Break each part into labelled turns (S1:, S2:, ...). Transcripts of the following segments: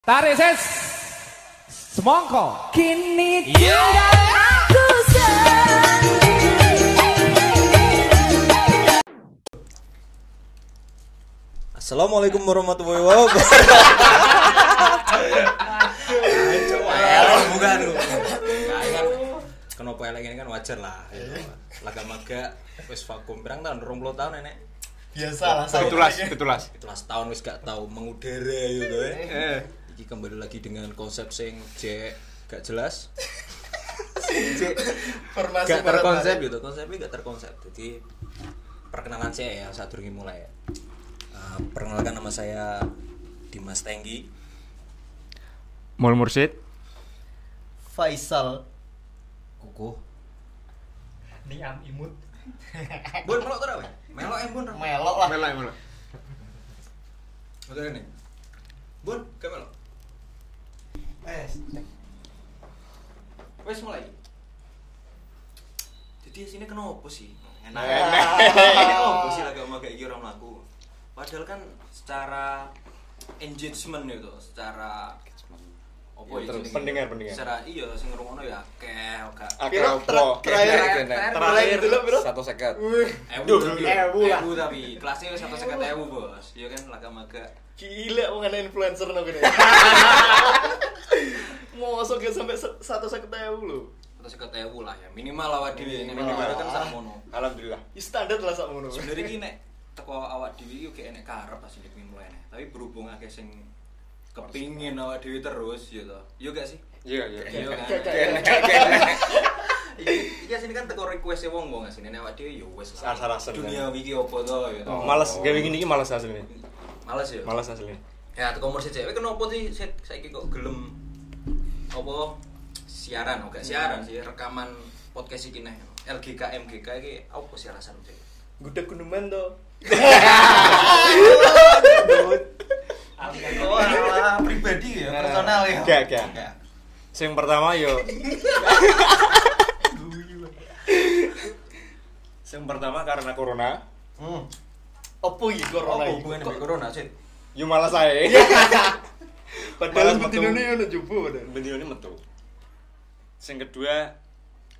S1: Tarik ses. Semongko.
S2: Kini
S1: Yeah.
S2: tinggal aku sendiri.
S3: Assalamualaikum warahmatullahi wabarakatuh. Elek bukan lu. Nah, ini kan kenapa elek ini kan wajar lah. ya. Laga maga wis vakum berang tahun 20 tahun nenek.
S4: Ya,
S5: biasa lah sampai
S6: Ketulas, ketulas.
S3: Itulah setahun wis gak tahu mengudara gitu ya.
S6: Eh,
S3: Iki kembali lagi dengan konsep sing jek gak jelas.
S5: informasi
S3: gak
S5: malam
S3: terkonsep
S5: hari.
S3: gitu konsepnya gak terkonsep jadi perkenalan saya ya saat durungi mulai ya. Eh, perkenalkan nama saya Dimas Tenggi
S6: Mul Mursid.
S5: Faisal
S3: kuku
S7: Niam imut.
S3: bun melok tuh apa melok yang bun
S5: melok lah
S6: Melak, melak.
S3: betul ini bun kayak melok wes mulai jadi sini kenapa sih enak kenapa sih lagi sama kayak gini orang laku padahal kan secara engagement itu secara apa ya jenenge?
S4: pendengar, pendengar.
S3: secara iya sing ngrungono ya akeh gak
S5: Piro,
S4: Akrabo.
S5: ter- terakhir.
S3: Terakhir.
S5: mulai dulu bro
S4: Satu sekat.
S3: Ewu tapi,
S5: Ewu lah.
S3: ewu tapi kelasnya satu sekat ewu bos, iya kan laga maga.
S5: gila mau ngana influencer nang gini mosok ya sampai se- satu sakit ewu lo
S3: Satu sekat ewu lah ya minimal awak dhewe nek
S5: Minimal.
S3: minimal kan
S4: Ah.
S3: sak mono.
S4: Alhamdulillah.
S5: Ya, standar lah sak ngono
S3: Sebenarnya iki nek teko awak dhewe iki gak enek karep pas ndek mulai nek. Tapi berhubung akeh sing kepingin awak dhewe terus ya to. Iya gak sih?
S4: Iya, iya.
S3: Iya kan.
S5: Gak, gak,
S3: Iki iki asine kan teko request wong wong asine nek awak dhewe ya wes lah.
S4: Asal-asalan.
S3: Dunia iki opo to ya to.
S4: Males gawe ngene iki males asline.
S3: Males ya.
S4: Males asline.
S3: Ya, teko umur si cewek kenapa sih saya saiki kok gelem apa siaran, oh, gak siaran sih rekaman podcast iki nah LGK MGK iki apa sih alasan cewek?
S5: gudeg guneman to
S3: Oh, ala pribadi ya, personal ya.
S4: Gak, gak. Sing pertama yo. Sing pertama karena corona,
S5: opo iki
S3: Apa
S5: corona iki
S3: hubungannya dengan corona sih?
S4: yo malas ae.
S5: padahal
S4: Malah
S5: bentinone
S4: metu.
S5: ono jubo padahal
S4: Bendino ini metu. Sing kedua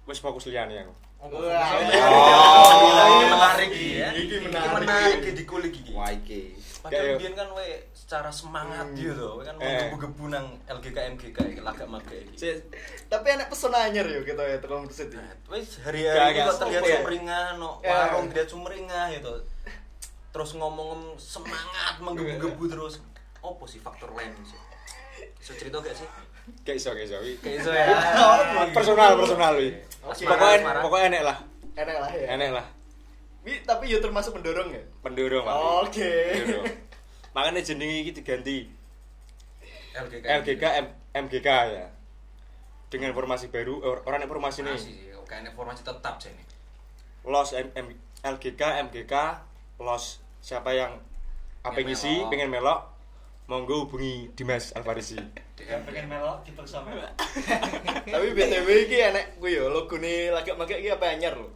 S4: wis fokus liyane aku.
S3: Alhamdulillah, ini menarik iki ya.
S5: Iki menarik.
S3: Iki menarik iki dikulik iki.
S4: Wah iki.
S3: Padahal biyen kan we secara semangat gitu to, we kan
S4: Eh.
S3: menggebu-gebu nang LGK MGK iki lagak maga iki.
S5: tapi enak pesona anyar yo kita ya terlalu bersedih
S3: Wis
S4: Gak,
S3: hari-hari iki
S4: gak,
S3: kok terlihat
S4: sopo ya?
S3: sumringah, no
S5: Ya.
S3: warung terlihat sumringah gitu. Terus ngomong semangat menggebu-gebu terus. Opo sih faktor lain sih? Bisa cerita gak sih?
S4: Gak iso, gak iso.
S3: Kayak iso ya.
S4: Personal, personal iki.
S3: Oke.
S4: Pokoknya pokoknya enek lah.
S5: enak lah ya
S4: Enek lah.
S5: Wi, tapi yo termasuk mendorong ya
S4: Pendorong, Pak.
S5: Oke.
S4: Pendorong. Makanya jenenge iki diganti
S3: LGK.
S4: LGK M- MGK ya. Dengan formasi baru, eh, or- orang informasi
S3: Ini
S4: ini
S3: sih, kayaknya formasi tetap sih ini.
S4: Los M- M- LGK MGK Los siapa yang apa
S3: Pengen
S4: ngisi,
S3: melok.
S4: pengen melok monggo hubungi Dimas Alvarisi.
S7: Yang pengen melok dipaksa melok.
S5: tapi btw iki enak gue yo logo nih lagak make iki apa anyar lo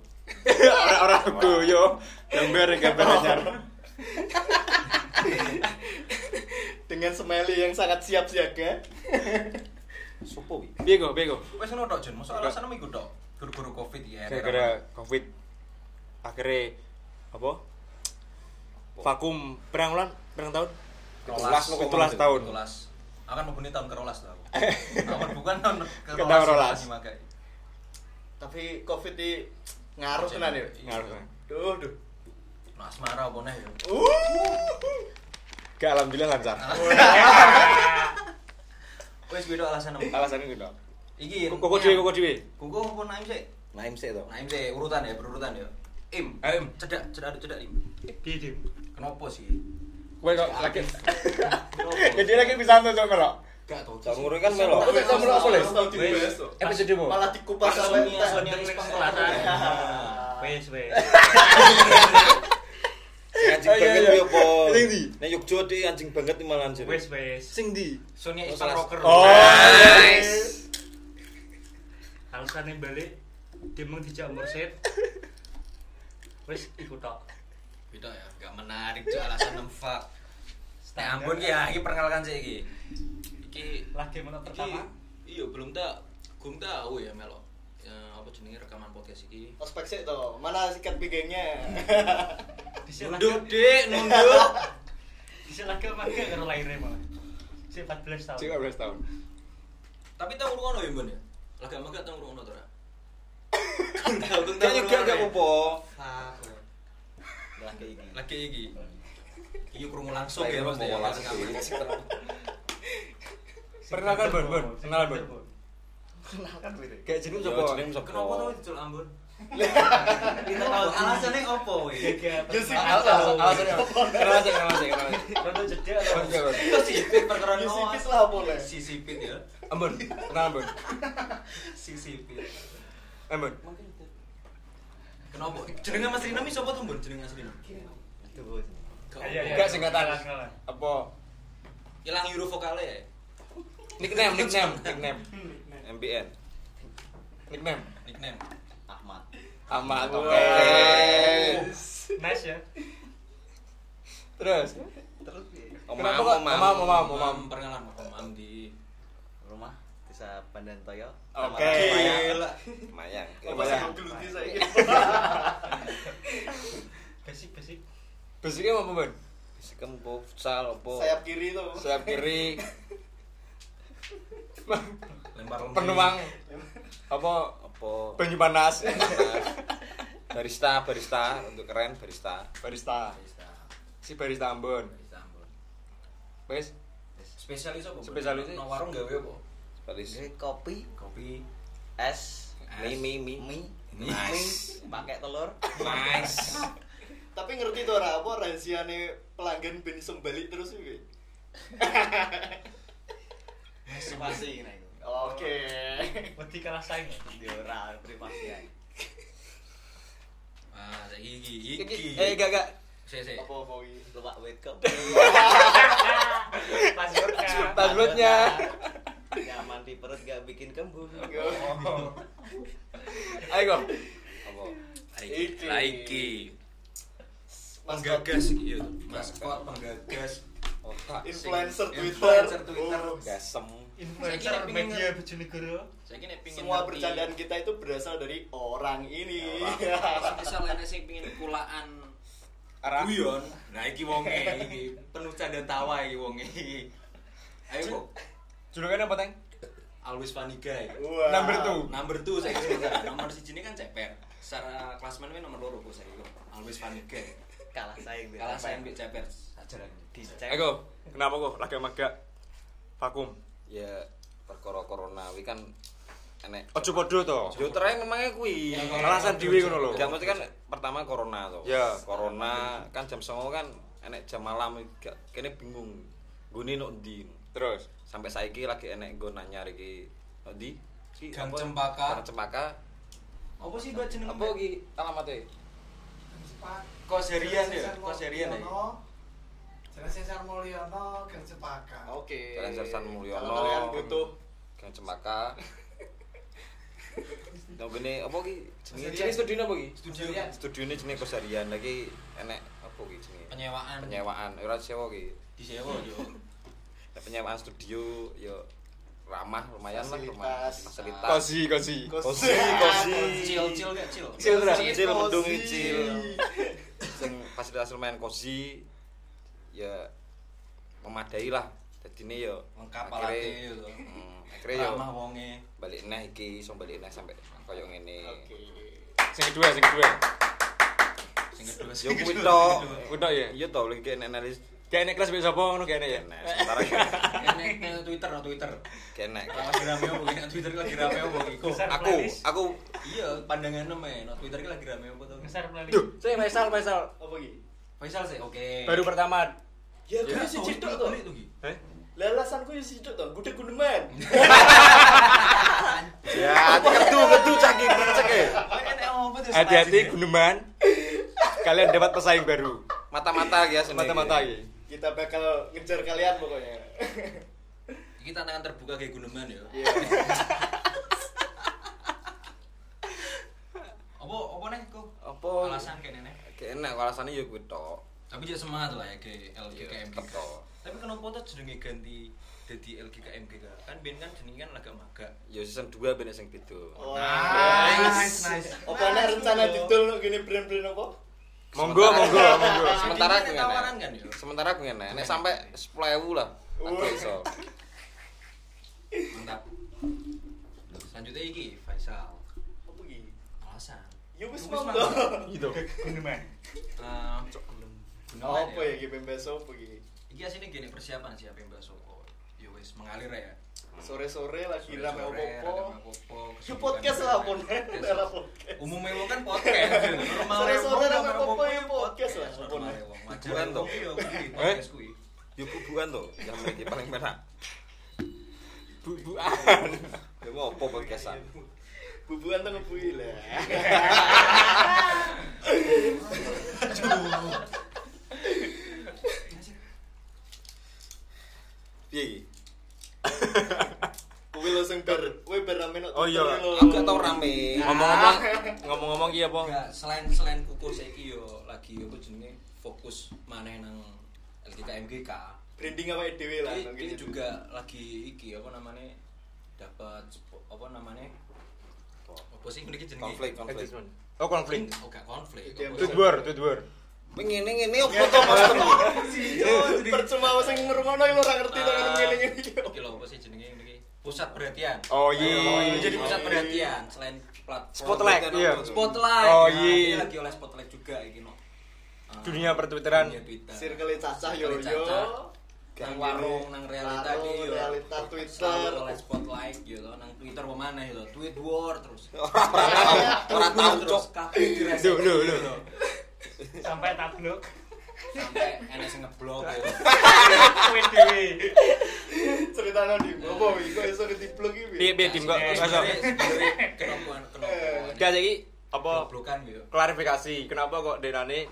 S4: Orang-orang doyo gambar gambar anyar.
S5: dengan smiley yang sangat siap siaga
S3: Sopo wi.
S4: Piye go, piye go?
S3: Wes ngono tok Jun, mosok alasan iku tok. Guru-guru Covid ya.
S4: Gara-gara Covid akhirnya apa? Vakum perang bulan, perang tahun. 17 17 tahun.
S3: 17. Akan mempunyai tahun kerolas tuh aku. Akan bukan tahun kerolas.
S4: Tahun kerolas.
S3: masih magai.
S5: tapi covid ini ngaruh tenan ya
S3: Iya.
S4: Ngaruh. kan?
S5: duh duh
S3: Nah, asmara apa nih? ya?
S5: Uh!
S4: Gak alhamdulillah lancar.
S3: Wes beda alasan apa?
S4: Alasannya gitu.
S3: Iki
S4: Koko dhewe, koko dhewe.
S3: Kuku apa naim sih?
S4: Naim sik to.
S3: Naim sih urutan ya, berurutan ya. Im.
S4: Ayo, Im.
S3: Cedak, cedak, cedak im.
S7: Bidim.
S3: Kenapa sih?
S4: Kowe kok lagi
S3: Kenapa?
S4: Jadi lagi bisa tuh kok melok.
S3: Gak tau.
S4: Tak ngurui kan melok.
S5: Tapi kamu lo boleh tahu di
S3: Wes.
S5: US tuh.
S4: Episodemu.
S5: malah dikupas sama
S3: Sonia, Sonia
S5: entah.
S3: Rispang Kelana.
S7: Wes wes.
S4: Anjing banget
S5: ya,
S8: ya,
S4: yo po. Sing ndi?
S8: Nek Yogyo di anjing banget nih malah anjir.
S7: Wes wes.
S4: Sing ndi?
S3: Sonia Ispang Rocker.
S4: Oh.
S3: Nice.
S7: Alasannya balik dimeng dijak mursid. Wes ikut tok.
S3: Beda ya, gak Nah, menarik tuh alasan nemfak. Nek Ambon ki ya, iki perkenalkan sih iki. Iki
S7: game ono
S3: Iki,
S7: pertama.
S3: iya belum tak, belum tahu ya Melo. Ya, apa jenenge rekaman podcast iki?
S5: Ospek sih toh, mana sikat bigengnya?
S3: Nunduk dek, nunduk.
S7: Bisa lagi mangke karo laire malah. Si 14 tahun.
S5: Cik 14 tahun.
S3: Tapi tahu ngono ya Bun ya. Lagak megak tahu ngono to ya.
S1: Kayaknya gak gak apa-apa.
S3: Lagi iki. Lagi iki. Iya krungu langsung ya
S1: Saya
S3: Mas ya.
S1: mau langsung.
S3: rekaman.
S9: Perkenalkan Bon Bon, perkenalan Bon.
S1: Kayak jenis
S4: Yo,
S1: sapa?
S4: jeneng sapa?
S3: Kenapa tuh dicul Ambon? Kita tahu alasannya opo iki.
S5: Yusuf
S1: Alasan alasan alasan alasan alasan.
S7: Rondo jeda atau
S1: Bon, bon.
S3: Itu sipit perkara no.
S5: Yusuf lah boleh.
S3: Si sipit ya.
S1: Ambon, kenalan Ambon.
S3: Si sipit.
S1: Ambon.
S3: Kenapa? Jenenge Mas Rina mi sapa tuh Bun? Jenenge Mas Rina. Gak apa.
S7: Iya, iya.
S1: Enggak singkatan.
S7: Kenalan.
S1: Apa?
S3: Hilang huruf vokalnya ya.
S1: Nickname, nickname, nickname. MBN. Nickname.
S3: Nickname. Ahmad.
S1: Ahmad. Oke.
S7: Nice ya.
S1: Terus. Om Mam,
S3: kok-
S1: Om Mam, Om Mam, Om Mam.
S3: Om perkenalan Om Am di
S5: Rumah desa Pandan Toyo.
S1: Oke.
S3: Gila.
S1: Mayang.
S5: Oh,
S1: Mayang.
S5: masih geluti saya.
S7: Basic-basic.
S1: Basicnya apa, Bon?
S4: Sikem futsal opo?
S5: Sayap kiri tuh.
S1: Sayap kiri.
S3: Lempar lempar.
S1: Penuang. Apa
S4: Opo?
S1: Penyu panas.
S4: Barista, barista untuk keren barista.
S1: barista.
S3: Barista.
S1: Si barista Ambon.
S3: Barista Ambon.
S1: Wes,
S3: Spesialis apa? Bun?
S1: Spesialis-
S3: No warung gawe apa?
S4: Balis.
S5: kopi,
S3: Kopi.
S5: es,
S4: Mi mi mi.
S5: mie,
S3: Nice.
S5: mie, pakai telur.
S3: Nice.
S5: Tapi ngerti tuh ora apa rahasiane pelanggan ben iso balik terus iki.
S3: Spasi nah itu.
S5: Oke.
S7: Wedi kalah saing.
S5: Di ora privasi ae.
S3: Ah, saiki iki iki.
S1: Iki- Eh, gak gak.
S3: Sik sik.
S5: Apa mau iki? Luwak wit kok.
S7: Password
S1: Passwordnya.
S5: Nyaman di perut gak bikin kembung.
S1: Ayo.
S3: Iki.
S5: Iki.
S3: Lah iki.
S5: Gagas
S3: Penggagas iki ya. tuh. Maskot penggagas.
S5: influencer
S3: Sing-
S5: Twitter.
S3: influencer Twitter.
S5: Oh.
S4: Gasem.
S3: Saya
S7: influencer
S3: kira pengen-
S7: media Bojonegoro.
S3: Saiki nek pingin
S5: Semua
S3: ngerti-
S5: bercandaan kita itu berasal dari orang ini.
S3: Misal nek sing pengin kulaan
S1: Arah.
S3: guyon. Nah iki wonge iki penuh canda tawa iki wonge. Ayo kok
S1: Julukannya apa, Teng?
S3: always paniga ya.
S5: Wah.
S1: Number two.
S3: Number 2 saya kira. Nomor siji ini kan ceper. Secara klasmen ini nomor loro kok saya kira. Always paniga.
S5: Kalah saing. Bel.
S3: Kalah saya ambek ceper. Ajaran.
S5: Dicek.
S1: Ayo. Eh, Kenapa kok lagi magak vakum?
S4: Ya perkara corona wi kan enek.
S1: Ojo podo to.
S4: Yo terakhir memangnya kui.
S1: Alasan dhewe ngono lho.
S4: Gak mesti kan pertama corona tuh.
S1: Ya.
S4: Corona kan jam 09.00 kan enek jam malam gak kene bingung. Gune nok ndi.
S1: Terus.
S4: Sampai saiki lagi enek nggo nak nyari ki nok ndi? Ki
S3: Gang
S4: apa?
S3: Cempaka.
S4: Gang Cempaka.
S3: Apa sih buat jeneng?
S4: Apa ki alamatnya?
S3: Kos harian ya. Kos harian ya.
S10: Jalan Sesar Mulyono, Gang Cepaka.
S5: Oke.
S4: Jalan Sersan Mulyono.
S5: Kalau kalian butuh
S4: Gang Cempaka. Nang gene apa ki jenenge?
S10: Kosarian.
S4: Jenenge studio apa ki?
S3: Studio
S4: Studione jenenge Kosarian lagi enek apa ki jenenge?
S3: penyewaan.
S4: Penyewaan, ora sewa ki.
S3: Disewa yo.
S4: Nek penyewaan studio yo ramah lumayan lah lumayan
S5: Fasilitas.
S4: fasilitas.
S1: Kosi, kosi.
S5: Kosi,
S4: kosi.
S3: Cil cil gak cil.
S1: Cil, Ra.
S4: Kecil mendung
S5: Kosi.
S4: kecil. Sing fasilitas lumayan kosi ya memadai lah. Dadine yo
S3: Lengkap
S4: akhirnya-
S3: alatnya gitu.
S4: Hmm, akhirnya yo
S3: Ramah wonge.
S4: balik neh iki iso balik neh sampai koyo ngene.
S5: Oke.
S1: Sing kedua, sing kedua.
S3: Sing kedua
S4: Yo
S3: sing
S4: kuwi
S3: kedua,
S4: to.
S3: sing kedua.
S1: Udah ya.
S4: Iya to lagi enek analis
S1: Kayak nek kelas besok apa ngono kayak enek ya.
S4: enek sementara kan
S3: Enek nang Twitter no Twitter.
S4: kenek.
S3: Lagi rame opo iki? Nang Twitter iki lagi rame opo iki?
S7: Besar
S4: Aku
S7: playlist.
S4: aku
S3: Iya, pandangan neme. Nang Twitter iki lagi rame opo to?
S7: Besar playlist.
S1: Duh, saya Faisal, Faisal.
S5: Apa iki?
S3: Faisal sih, oke.
S1: Baru pertama.
S5: Ya, gue
S3: Ya,
S5: sih
S3: oh,
S5: cedok
S3: itu,
S5: tuh.
S3: itu, Ki.
S1: Eh?
S5: Lalasan gue sih cedok tuh. Gue udah guneman.
S4: ya hati ketu ketu caki cek e.
S5: kan
S3: Enek apa tuh?
S1: Hati-hati guneman. Kalian dapat pesaing baru.
S4: mata-mata ya seneng
S1: Mata-mata iki.
S5: Kita bakal ngejar kalian pokoknya.
S3: Iki tantangan terbuka kayak guneman ya.
S5: Iya.
S3: Apa apa nih kok?
S4: apa
S5: Oh.
S3: Alasan kayak nenek.
S4: Kayak enak kok alasannya ya kuwi tok
S3: Tapi dia semangat lah ya ke LGKM
S4: Iya, tetep.
S3: Tapi kenapa tuh jenenge ganti jadi LGK MGK kan biar kan jenenge kan agak maga
S4: Ya season 2 ben sing 7.
S3: Oh.
S11: Nice, nice.
S5: Apa ana rencana didol no gini brand-brand apa?
S4: Monggo, monggo, monggo. Sementara
S3: Ini
S4: aku
S3: ada
S4: ngene.
S3: tawaran kan ya?
S4: Sementara aku ngene, nek sampe 10.000 lah. Aku iso.
S3: mantap selanjutnya iki Faisal
S5: Apa iki?
S3: alasan
S5: Ya wis
S3: Ya wis,
S5: monggo.
S7: Itu. Ini meh.
S3: Eh, gunawan
S5: Apa ya iki pembes apa iki?
S3: iki aslinya gini persiapan siapa yang bahas Soko ya wis mengalir ya
S5: Sore-sore lagi rame
S3: Sore-sore, Ya, rame
S5: opo-opo.
S3: opo-opo,
S5: Ya
S3: kesibukan
S5: podcast lah
S3: rame-rame.
S5: pon. Lah podcast.
S3: umumnya wong kan podcast normal
S5: Sore-sore
S3: wong,
S5: rame
S3: normal
S5: opo
S3: wong
S5: ya podcast lah pon.
S3: normal ya, wong macam
S4: Bukan
S3: wong
S4: toh.
S3: iya kuwi,
S4: Eh?
S3: podcast kuwi
S4: Yo bubuan to, yang iki paling penak. Bubuan. Ya mau apa podcastan?
S5: Bubuan tuh ngebui lah.
S4: Piye iki?
S5: Kuwi lo sing ber, kuwi ber rame nok.
S4: Oh iya.
S5: tutur lo.
S4: Aku gak tau rame.
S1: Ngomong-ngomong, ngomong-ngomong iya apa?
S3: Enggak, selain selain kuku saiki yo lagi yo jenenge fokus maneh nang LKK MGK
S5: Branding apa dhewe lah. Iya,
S3: Ini-
S5: nang
S3: ini
S5: kene.
S3: juga lagi iki apa namanya dapat sepo- apa namanya apa sih ini jenenge
S4: Konflik, konflik.
S1: Adjustment.
S12: Oh konflik.
S3: oh gak
S5: Iya,
S3: konflik apa
S5: betul.
S3: sih?
S12: Tudwar, tudwar.
S4: Ngene ngene opo to maksudmu? Iya,
S5: Percuma wong sing ngrungokno lo ora ngerti to
S3: Ah,
S5: kan ngeling-ngeling iki.
S3: iki lho apa sih jenenge ini pusat perhatian
S12: Oh iya.
S3: Ini jadi pusat perhatian selain platform
S12: Spotlight, iya.
S3: spotlight
S12: Oh,
S3: Nah,
S12: iya.
S3: ini lagi oleh spotlight juga iki no Ah,
S12: Dunia pertwitteran.
S3: dunia Twitter.
S5: Circle cacah yo
S3: Circle
S5: yo.
S3: Nah. cacah. nang warung nang realita
S5: Warung,
S3: iki yo
S5: realita Twitter.
S3: Selalu oleh spotlight yo to, nang Twitter pemana yo to, tweet war terus
S4: Ora tau cok.
S3: terus kabeh diresek gitu
S12: Duh, duh, duh.
S3: yo.
S7: Sampai tablok.
S3: sampai enek sing ngeblok gitu. yo
S7: Kowe dhewe.
S5: Ceritane di opo
S3: Nah.
S5: iki kok iso ditiplok iki.
S1: Piye piye tim kok masuk.
S3: kenokuan kenokuan
S1: Gak saiki apa
S3: blokkan yo
S1: klarifikasi kenapa kok Denane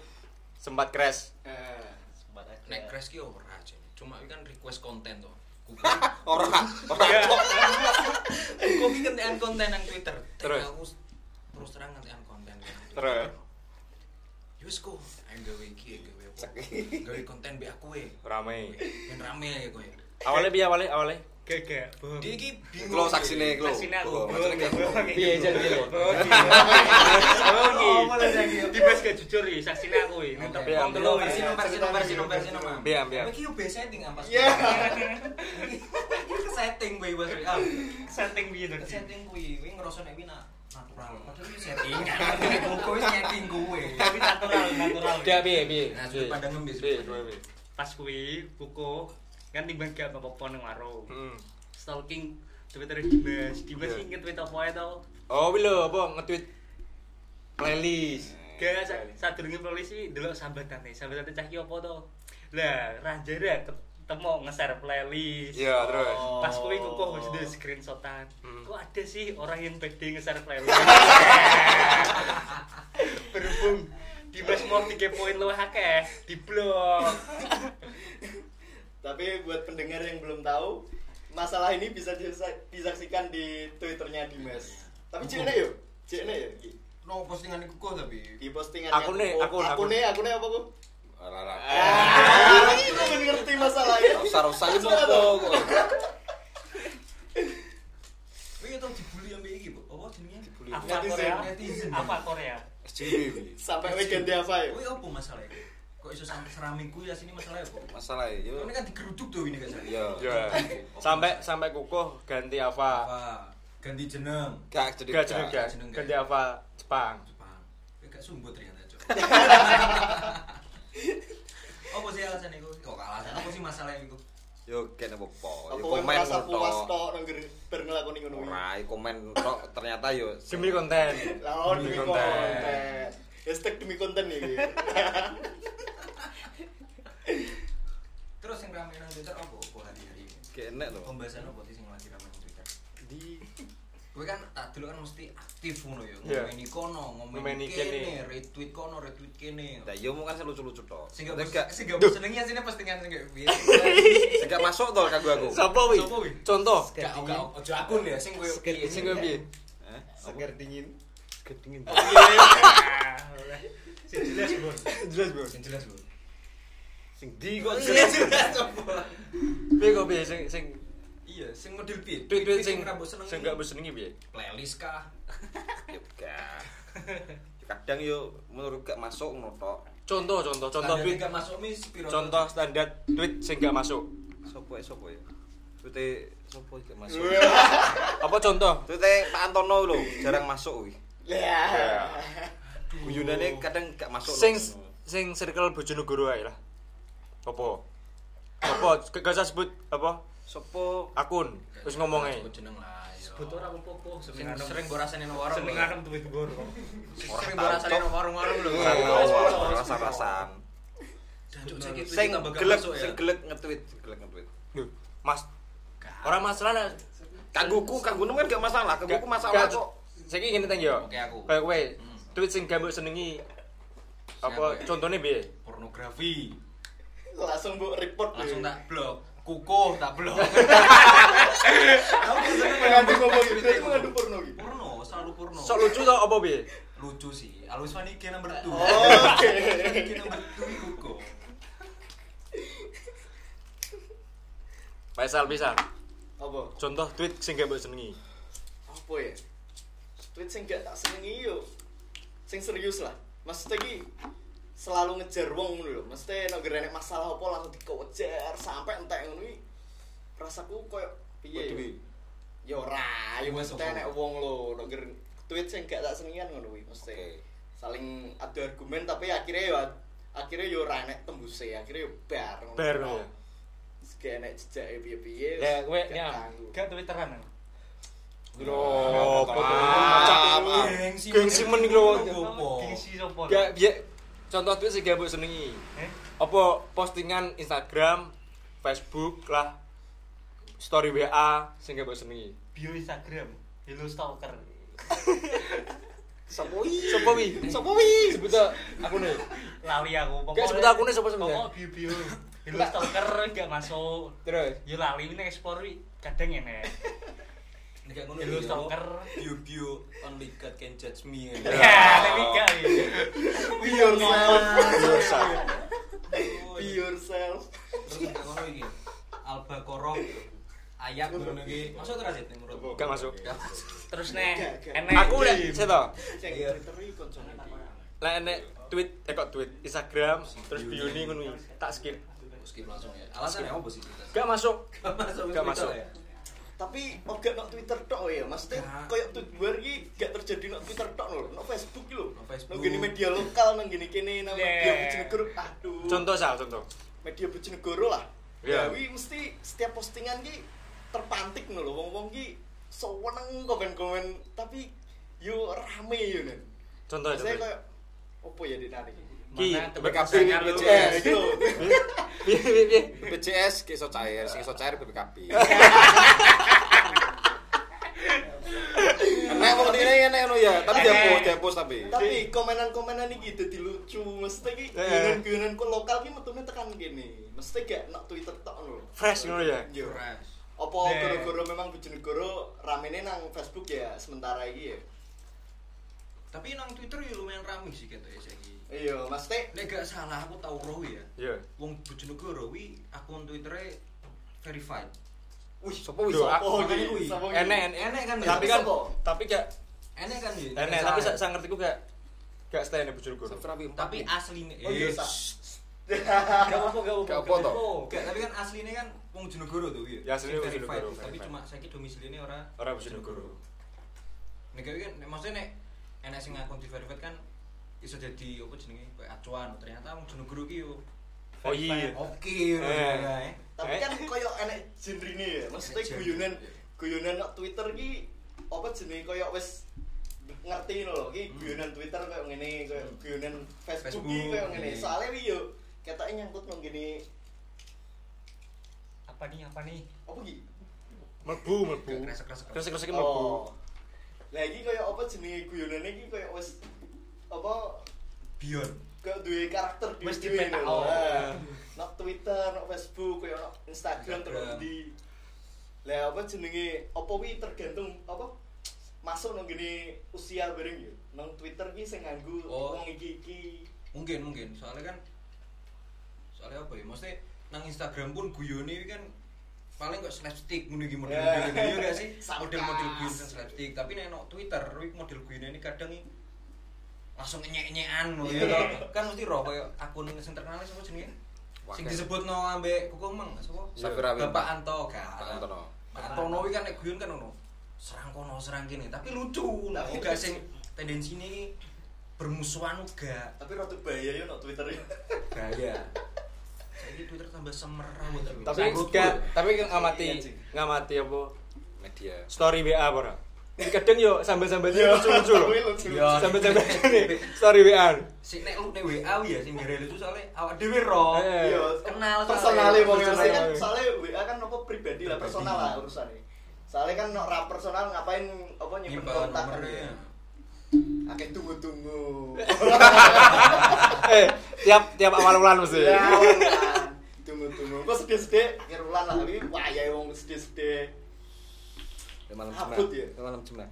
S1: sempat crash?
S5: Eh,
S3: nek crash ki ora Jen. cuma iki kan request konten to kuku
S4: Ora, ora cok.
S3: kuku ki kentekan konten nang Twitter
S1: Terus?
S3: aku s- terus terang kentekan konten
S1: Terus?
S3: Yus ku, ayo gawe iki, ayo gawe apa Gawe konten be aku e
S1: Rame.
S3: Ben rame ya kowe
S1: Awalnya piye awalnya awalnya?
S7: Gegek. Bohong.
S3: Dia iki bingung
S4: Klo saksine klo.
S7: Saksine
S4: Oh,
S7: aku.
S4: macam kayak-
S3: iya.
S12: Piye jan piye?
S7: iya. Oh, mulai lagi. Tiba gak jujur iya. iki saksine aku iki. Nentep
S3: iya. Oke.
S7: wong telu.
S3: Telu, versi nomor versi nomor versi nomor versi nomor.
S1: Biar, biar.
S3: Iki yo base setting ampas.
S5: Iya.
S3: Iki ke setting kuwi Mas. Ah,
S7: Setting piye to?
S3: Ke setting kuwi, kuwi ngerasa nek kuwi na- natural. Padahal kuwi setting. Kuwi setting kuwi.
S7: Tapi natural, natural.
S12: Dia piye piye?
S3: Nah, sudut pandang ngembis.
S1: Piye kowe piye?
S7: Pas kuwi buku kan timbang gak apa-apa nang warung.
S1: Hmm.
S7: Stalking Twitter Dimas.
S3: Iya.
S7: Dimas iki nge-tweet apa ya, ae to?
S1: Oh, wi lho apa nge-tweet playlist.
S7: Gak, sa-
S3: Iya.
S7: sadurunge polisi delok sambatane. Sambatane cah iki apa to? Lah, ranjara ketemu nge-share playlist.
S1: Iya, terus.
S7: Pas kuwi kukuh wis di screenshotan.
S1: Hmm.
S7: Kok ada sih orang yang pede nge-share playlist? Berhubung Dimas mau 3 poin lu akeh, diblok.
S5: Tapi buat pendengar yang belum tahu, masalah ini bisa disa- disaksikan di Twitternya Dimas. Tapi cekne yo, cekne yo iki.
S3: No postingan iku kok tapi.
S5: Di postingan
S1: Akune, akun,
S5: akune, akune apa ku?
S4: Ora, ora.
S5: Ah, aku kan ngerti masalahnya.
S4: Usah-usah iki mopo kok.
S3: Kuwi tau dibully ambe iki, Bu. Apa jenenge?
S7: Apa Korea? Apa Korea?
S4: SJW.
S5: Sampai weekend dia apa ya?
S3: Kuwi opo masalah iki? Kok iso sampe serami kuwi asine masalah apa?
S4: Masalah e, yo.
S3: Ini kan digeruduk tuh ini kan saya.
S4: Iya.
S1: Iya. Sampai sampai kukuh ganti apa?
S3: Apa? Ganti jeneng.
S4: Gak jadi.
S1: Gak jeneng
S3: gak
S1: gak.
S3: jeneng, gak.
S1: Ganti apa? Jepang.
S3: Jepang. Kowe gak sumbut ternyata, Cok. Apa sih alasan iku? Kok alasan apa sih masalah iku?
S4: Yo kene
S3: oh,
S4: opo.
S5: Apa
S4: Yo
S5: kowe
S4: komen
S5: merasa puas
S4: tok.
S5: tok nang ger- ber ngelakoni ngono kuwi?
S4: Ora, yo komen tok ternyata yo.
S12: Demi konten.
S5: Lawan oh, demi
S1: Demi
S5: konten. Hashtag demi konten ya iki.
S3: Terus yang ramai nang Twitter apa apa hari-hari ini?
S4: Kene lho.
S3: Pembahasan apa sih yang lagi ramai nang Twitter?
S1: Di
S3: Kowe kan tak dulu kan mesti aktif ngono ya,
S1: Iya.
S3: ngomeni kono,
S1: Ngomeni
S3: ngomeni kene,
S1: kene.
S3: retweet kono, retweet kene.
S4: Lah yo mung kan lucu-lucu tok.
S3: Sing
S4: Sing
S3: gak
S4: gak
S3: sing gak senengi asine postingan sing gak biasa.
S4: sing gak masuk to kanggo aku.
S1: Sapa wi?
S3: Sapa wi?
S1: Contoh.
S3: Gak gak ojo akun ya sing kowe
S1: Iya, sing kowe piye?
S4: Eh,
S5: Seger dingin.
S7: Sing jelas, Bos.
S1: Jelas, Bro.
S3: sing jelas lho.
S4: Sing di kok
S3: Jelas jelas apa?
S1: Piye kok piye sing sing
S3: iya sing model piye
S4: Tweet-tweet sing
S3: ra mbok senengi.
S4: sing gak bersenengi piye?
S3: playlist kah
S4: Ya gak. Kadang yo menurut gak masuk ngono tok.
S1: Contoh, contoh, contoh
S3: contoh
S1: tweet,
S3: gak masuk mis piro
S1: contoh standar tweet sing gak masuk.
S4: Sopo ya sopo ya? Tweet sopo gak masuk?
S1: Apa contoh?
S4: Tweet Pak Antono lho, jarang masuk kuwi.
S5: Ya.
S4: Guyonane kadang gak masuk.
S1: Sing sing circle Bojonegoro ae lah. Apa? Apa gak usah sebut apa
S4: sopo
S1: akun terus ngomong ae.
S3: Sebut jeneng lah yo.
S7: Betul ora popo
S3: Sing
S7: seneng
S3: sering mbok rasani nang warung
S7: seneng
S3: lho.
S7: anem duit gue.
S3: sering mbok rasani nang warung-warung lho
S1: Iya,
S4: rasa-rasan.
S3: Jancuk saiki tweet
S4: Sing
S3: tambah gak
S4: gelek,
S3: masuk ya.
S4: sing gelek nge-tweet, gelek nge-tweet.
S1: Duh, Mas. Ora masalah lah.
S4: Kangguku, kanggumu kan gak masalah, kangguku masalah
S1: Gak-
S4: kok.
S1: Saiki ngene teng yo.
S3: Oke, aku.
S1: Kayak kowe tweet sing gak mbok senengi apa
S3: Siapa ya?
S1: contohnya piye?
S3: pornografi
S5: Langsung bu report
S3: langsung
S5: Bu.
S3: tak blok kukuh tak blok aku seneng
S5: Mengadu ngomong gitu, jadi mengadu porno gitu.
S3: porno selalu porno
S1: Sok lucu to apa piye?
S3: lucu sih alus mani kena bertu
S1: Oh.
S5: Oke.
S3: kena bertu kukuh
S1: Faisal bisa.
S5: Apa?
S1: Contoh tweet sing gak mbok senengi.
S5: Apa ya? Tweet sing gak tak senengi yo. Sing serius lah. Maksudnya ki selalu ngejar wong ngono lho. Maksudnya nek gerenek masalah apa langsung dikejar sampai entek ngono iki. Rasaku koyo
S1: Iya,
S5: piye? ya? Ya ora, ya
S3: Wes,
S5: maksudnya
S3: apa?
S5: nek wong lho nek ger- tweet sing gak tak senengian ngono kuwi mesti.
S4: Oke.
S5: Saling adu argumen tapi akhirnya yo akhirnya yo ora enek tembuse, akhirnya yo bar ngono.
S1: Bar, ya.
S5: Gak enek jejake piye-piye.
S13: Ya, gue
S5: gak
S13: ya,
S5: tangguh.
S13: gak twitteran.
S1: Bro, apa
S3: gengsi
S1: Gengsi men iki lho.
S3: Gopo.
S7: Gengsi sopo?
S1: Gak piye? Contoh tweet sing gak mbok senengi.
S7: Eh?
S1: Apa postingan Instagram, Facebook lah story WA sing gak mbok senengi.
S7: Bio Instagram, hello stalker.
S1: Sopo wi? Sopo wi? Sopo wi? Sebut to akune.
S7: Lali aku
S1: Gak sebut akune sopo sebenarnya.
S7: Pokok bio-bio. Hello stalker gak masuk.
S1: Terus
S7: Ya lali ini explore wi, kadang ngene.
S3: Nek gak ngono
S7: Hello
S3: ya.
S7: stalker.
S3: Bio-bio only God can judge me.
S7: Ya,
S1: Iya.
S7: tapi gak wi.
S5: Be yourself.
S1: dosa.
S5: Be yourself.
S3: Terus nek gak ngono iki. Alba Korok ayat ngono iki. Masuk ora sih menurut?
S1: Gak masuk.
S7: Terus nih,
S5: Gak, gak.
S7: enek.
S1: Aku lek seto.
S5: Sing
S3: Iya.
S5: diteri koncone iki.
S1: Lek enek tweet, eh kok tweet, Instagram, terus bio ini ngono iki. tak skip.
S3: Skip langsung ya. Alasannya apa sih?
S1: Gak masuk.
S3: Gak masuk.
S1: Gak masuk.
S3: ya?
S5: Tapi oga nok Twitter tok ya, maksudnya
S3: Gak.
S5: koyo tujuan iki gak terjadi nok Twitter tok lho, nok Facebook iki lho.
S3: Nok Facebook.
S5: Nok gini media lokal nang gini kene nang media
S7: Yeah.
S5: Bojonegoro. Aduh.
S1: Contoh sal, contoh.
S5: media Bojonegoro lah.
S1: Iya.
S5: Ya wi mesti setiap postingan ki terpantik ngono lho, wong-wong ki seneng komen-komen tapi yo rame yo nen.
S1: Contoh
S5: Saya
S1: contoh.
S5: koyo opo ya dinari.
S1: Ki,
S7: Mana
S1: BKB,
S7: kebebasannya lu?
S1: BCS.
S5: Eh, iki lho.
S1: Iya. Piye piye piye.
S4: BPJS ki iso cair, sing iso cair BPKB. Enak kok ngene enak ngono ya, tapi dihapus, dihapus tapi.
S5: tapi komenan-komenan iki dadi lucu mesti iki
S1: Eh.
S5: guyonan-guyonan ku lokal ki metune tekan kene mesti gak nak Twitter tok lho
S1: Fresh ngono ya.
S5: yo
S3: Fresh.
S5: apa
S7: Eh.
S5: goro-goro memang Bojonegoro ramene nang Facebook ya sementara iki ya
S3: Tapi nang Twitter ya lumayan rame sih gitu ya saiki.
S5: iya mesti
S3: Nek gak salah aku tau roh ya.
S1: Iya.
S3: Wong Bojonegoro wi akun Twitternya verified.
S5: wih
S4: Sopo wis?
S1: Duh,
S5: apa
S1: aku-
S5: iki kuwi
S1: Enek, enek.
S3: Enek kan?
S1: Tapi
S3: ya?
S1: kan
S5: Sopo?
S1: tapi gak
S3: enek kan ya?
S1: enek, tapi sa- sa ngertiku gak gak stay nek Bojonegoro.
S3: tapi asline
S5: Oh, iya,
S3: eh,
S5: sa-
S3: shh.
S7: Gak apa-apa, gak apa-apa.
S4: Gak apa-apa toh?
S3: Enggak, tapi kan aslinya kan wong Jonegoro tuh iya.
S1: Ya, aslinya wong
S3: Verified,
S1: Jonegoro,
S3: Tapi
S1: verified.
S3: cuma saiki domisilinya ora
S1: Ora Bojonegoro.
S3: Nek kuwi kan nek- maksudnya nek enek sing akun di verified kan iso jadi apa jenenge kayak acuan. Ternyata wong Jonegoro ki yo
S1: Oh iya.
S3: oke
S1: Eh.
S3: ora ya.
S5: tapi kan koyo enek jenrine ya mesti
S3: Enek genre.
S5: guyonan guyonan nang Twitter ki apa jenenge koyo wis ngerti lho ki guyonan Twitter koyo ngene koyo guyonan Facebook ki
S3: Hmm. Facebook,
S5: koyo ngene
S3: iya.
S5: soalnya wi yo ketoke nyangkut nang gini
S7: Apa nih, apa nih?
S5: apa ki
S1: Mlebu, mlebu.
S3: Kresek-kresek.
S1: Kresek-kresek mlebu.
S5: oh lagi koyo apa jenenge guyonane ki koyo wis apa
S3: Beyond.
S5: koyo duwe karakter
S7: Wis
S5: dhewe-dhewe
S7: dipetak,
S5: lho.
S7: oh.
S5: Nah, nang Twitter, nang Facebook, koyo nang Instagram terus
S3: Instagram.
S5: di lah apa jenenge apa wi tergantung apa masuk nang gini usia bareng yo nang Twitter ki sing nganggo
S3: Oh.
S5: wong iki iki
S3: Mungkin mungkin soalnya kan soalnya apa ya? Maksudnya nang Instagram pun guyone kan paling kok slapstick ngono iki model
S5: Ya.
S3: model iya gak sih
S5: Sarkas.
S3: model-model guyon dan slapstick tapi nek no Twitter wih, model guyonnya ini kadang i- langsung nyek-nyekan ngono ya toh. kan mesti roh koyo akun sing terkenal sapa jenenge sing disebut no ambek kuku emang sapa
S1: Safira Winter.
S3: Bapak Anto gak
S1: Pak Antono.
S3: Pak Antono iki kan nek guyon kan ngono serang kono serang kene tapi lucu nah
S5: Tapi
S3: gak
S5: lucu.
S3: sing tendensi ini bermusuhan uga
S5: tapi rada bahaya yo no Twitter yo.
S3: bahaya jadi Twitter tambah semerawut
S1: tapi
S3: Menurutku
S1: enggak tapi ngamati
S5: Iya,
S1: ngamati apa media story WA ora Ini kadang yo sambil-sambil
S5: Iya.
S1: lucu-lucu loh
S5: Tapi lucu.
S1: sambil-sambil ini story WA
S3: si nek lu nek WA ya sing gara itu soalnya awak
S5: Oh,
S3: dhewe roh
S1: Eh.
S5: Yo,
S3: Kenal soalnya.
S5: personal Iya. wong
S1: Personal.
S5: mesti kan soalnya WA kan apa pribadi lah
S3: Pribadi.
S5: personal lah urusane. Soalnya kan no ra personal ngapain apa nyimpen
S3: nyimpen
S5: kontak kan
S3: nomornya
S5: ya. Akeh tunggu-tunggu.
S1: eh tiap tiap awal bulan mesti
S5: Ya, Wulan. tunggu-tunggu. Kok sedih-sedih akhir bulan lah iki wayahe wong sedih-sedih.
S1: malam
S5: Abut
S1: jumat
S5: ya?
S1: malam jumat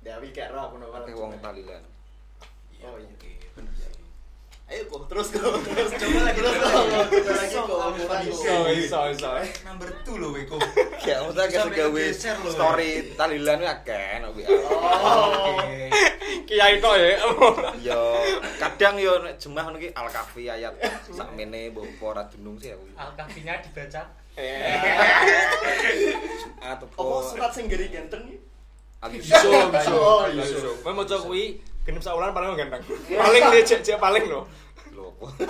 S5: Ya wi gak ro aku no
S1: pakai wong talilan
S5: Oh iya.
S3: oke bener ya
S5: Ayo kok terus kok terus
S3: Coba lagi,
S5: terus kok
S3: coba
S5: coba lagi
S3: lagi. So,
S5: kok
S3: aku
S5: ora
S3: tadi.
S5: kok.
S1: iso iso
S3: number 2 lho weko
S1: ya udah
S3: Sampai
S1: gawe
S3: geser loh.
S1: story talilan ya kan WA
S5: Oh.
S1: kiai kok ya
S3: yo kadang yo nek jemah ngono ki alkafi ayat sakmene mbok apa ora dunung sih aku
S7: Alkafinya dibaca
S5: Apa
S3: atau
S5: surat sing geri ganteng iki?
S1: Abiso, abiso,
S5: Oh, iya.
S1: abiso. Kowe mau kuwi genep saulan paling ganteng. Paling dia cek paling lo.
S3: lho apa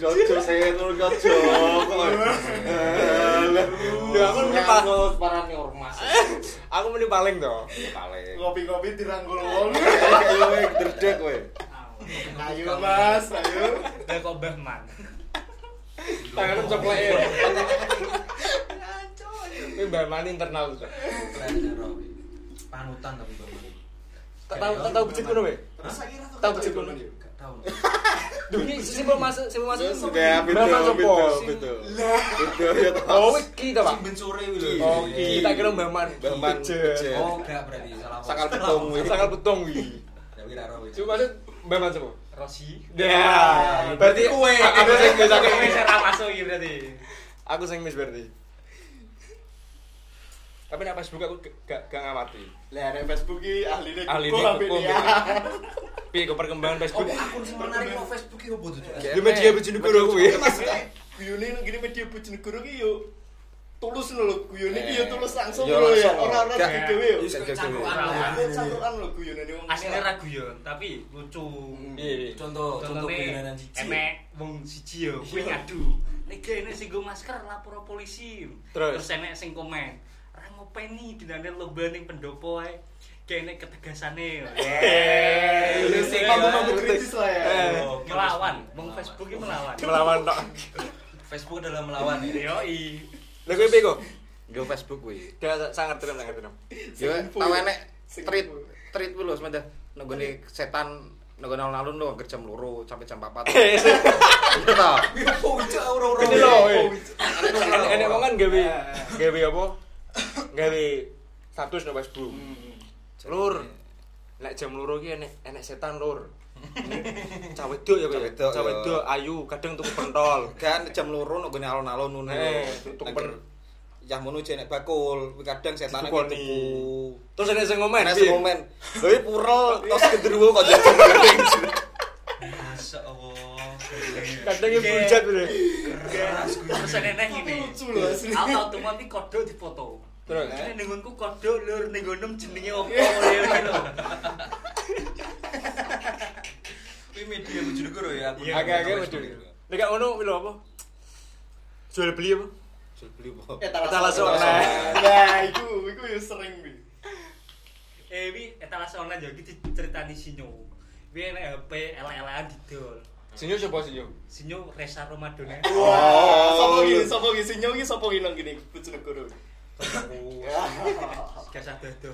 S5: Jojo saya nur jojo.
S1: Ya aku mending paling.
S3: parane ormas
S1: Aku mending paling to.
S3: paling
S5: Ngopi-ngopi dirangkul wong.
S3: yo derdek kowe
S5: Ayo Mas, ayo.
S7: Lah kok Mbah Man
S1: Tangan ya. coplek. Ini Mbak Mani internal tuh.
S3: panutan tapi bapak
S1: Tak tahu tak tahu becet kuno, Be.
S5: Terus akhirnya tuh
S1: Tahu
S5: kata
S1: becet
S5: itu
S1: kuno.
S5: kan, yuk.
S3: gak tau
S1: Duh, ini simpel masuk, simpel masuk.
S3: Ya,
S1: Berapa sopo?
S3: betul.
S1: Oh, iki to, Pak.
S3: Sing bencure kuwi lho.
S1: Oh, iki tak kira Mbak Man.
S3: Mbak Man
S1: Becet.
S3: Oh, enggak berarti salah.
S1: Sakal betung kuwi. Sakal betung kuwi.
S3: Ya wis ora wis.
S1: Cuma maksud Mbak Man sopo?
S7: Rosi
S1: Ya, berarti
S3: Kue.
S1: aku sing miss aku.
S7: Ini saya ra masuk iki berarti
S1: Aku sing miss berarti. Tapi nek Facebook aku ge- gak gak ngamati.
S5: Lah nek Facebook iki ahline
S1: Ahline
S5: Google sampe
S1: Google.
S5: dia.
S1: Piye kok perkembangan
S5: Oh,
S1: Facebook?
S3: Akun sing menarik kok Facebook iki opo tuh?
S1: Ya media bojonegoro kuwi.
S5: Iya, Maksudnya guyone nang ngene media Bojonegoro iki yo tulus lho lho, guyone iki yo tulus langsung
S1: Yo,
S5: lho ya.
S1: langsung.
S5: Ora-ora
S1: Gak-
S5: dhewe yo.
S3: Wis kecangkruan lah.
S5: Aku cangkrukan lho guyone ini wong. Nah,
S7: Aslinya ra guyon tapi lucu
S1: Iya.
S3: Contoh contoh
S7: Contohnya
S3: guyonan siji.
S7: emek wong siji yo kuwi ngadu. Nek gene sing nggo masker lapor polisi.
S1: Terus?
S7: Terus enek sing komen. Ra ngopeni dinane lomba ning pendopo ae. Kene ketegasane.
S1: Eh,
S5: Eh, Sing mampu-mampu kritis lah ya.
S3: Oh, oke,
S7: Melawan,
S3: Facebook.
S7: wong Facebook iki melawan.
S1: Melawan tok.
S3: Facebook adalah melawan ya.
S7: Yoi.
S1: Lah kuwi piye kok?
S3: Go Facebook kuwi.
S1: Gak sangat terem sangat terem.
S3: Yo
S5: Sing
S3: tau
S5: full.
S3: enek
S5: Sing
S3: treat
S5: full.
S3: treat kuwi lho semenjak nenggone setan nenggone alun-alun lho hampir jam 2 sampai jam 4. Iya ta?
S4: Ya,
S3: Opo wicak ora-ora.
S1: Ini lho. Enek enek wong kan gawe gawe apa? Gawe status nang Facebook. Lur. Nek jam loro ki enek enek setan lur. Cah wedok ya
S3: Cah
S1: kuwi.
S3: wedok,
S1: Cah
S3: ya.
S1: wedok ayu, kadang tuku pentol.
S3: kan jam loro nunggu nih alon-alon nunggu
S1: Eh,
S3: nih
S1: tuku
S3: tuker
S1: pen-
S3: yang mau nuju nek bakul Wih, kadang setan
S1: Dukoni. Terus enek sing ngomen.
S3: mana
S1: piye?
S3: sih momen tapi purel tos genderuwo kok jajan gendeng masa allah
S1: Kadang ki bujat bener.
S7: Terus enek
S5: Tapi
S7: ngene.
S5: lucu lho asli.
S7: Aku otomatis kodok difoto.
S1: Terus.
S7: Ini nengonku kodok lur ning ngono jenenge opo ngene lho.
S3: ini media Bojonegoro ya
S4: Iya,
S3: aku
S1: Agak-agak wedok. Nek gak ngono lho apa? Jual beli apa?
S3: jual beli po
S5: Eh
S1: Kita
S5: talas
S1: langsung
S5: online.
S1: online.
S5: Nah, iku iku yo sering kuwi.
S7: Eh, wi etalase online yo iki diceritani Sinyo. Wi enek HP elek-elekan didol.
S1: Senyum siapa senyum?
S7: Sinyo Resa Ramadona.
S5: Wah, sapa iki sapa iki sinyo iki sapa iki nang ngene Bojonegoro.
S7: Gak sadar do.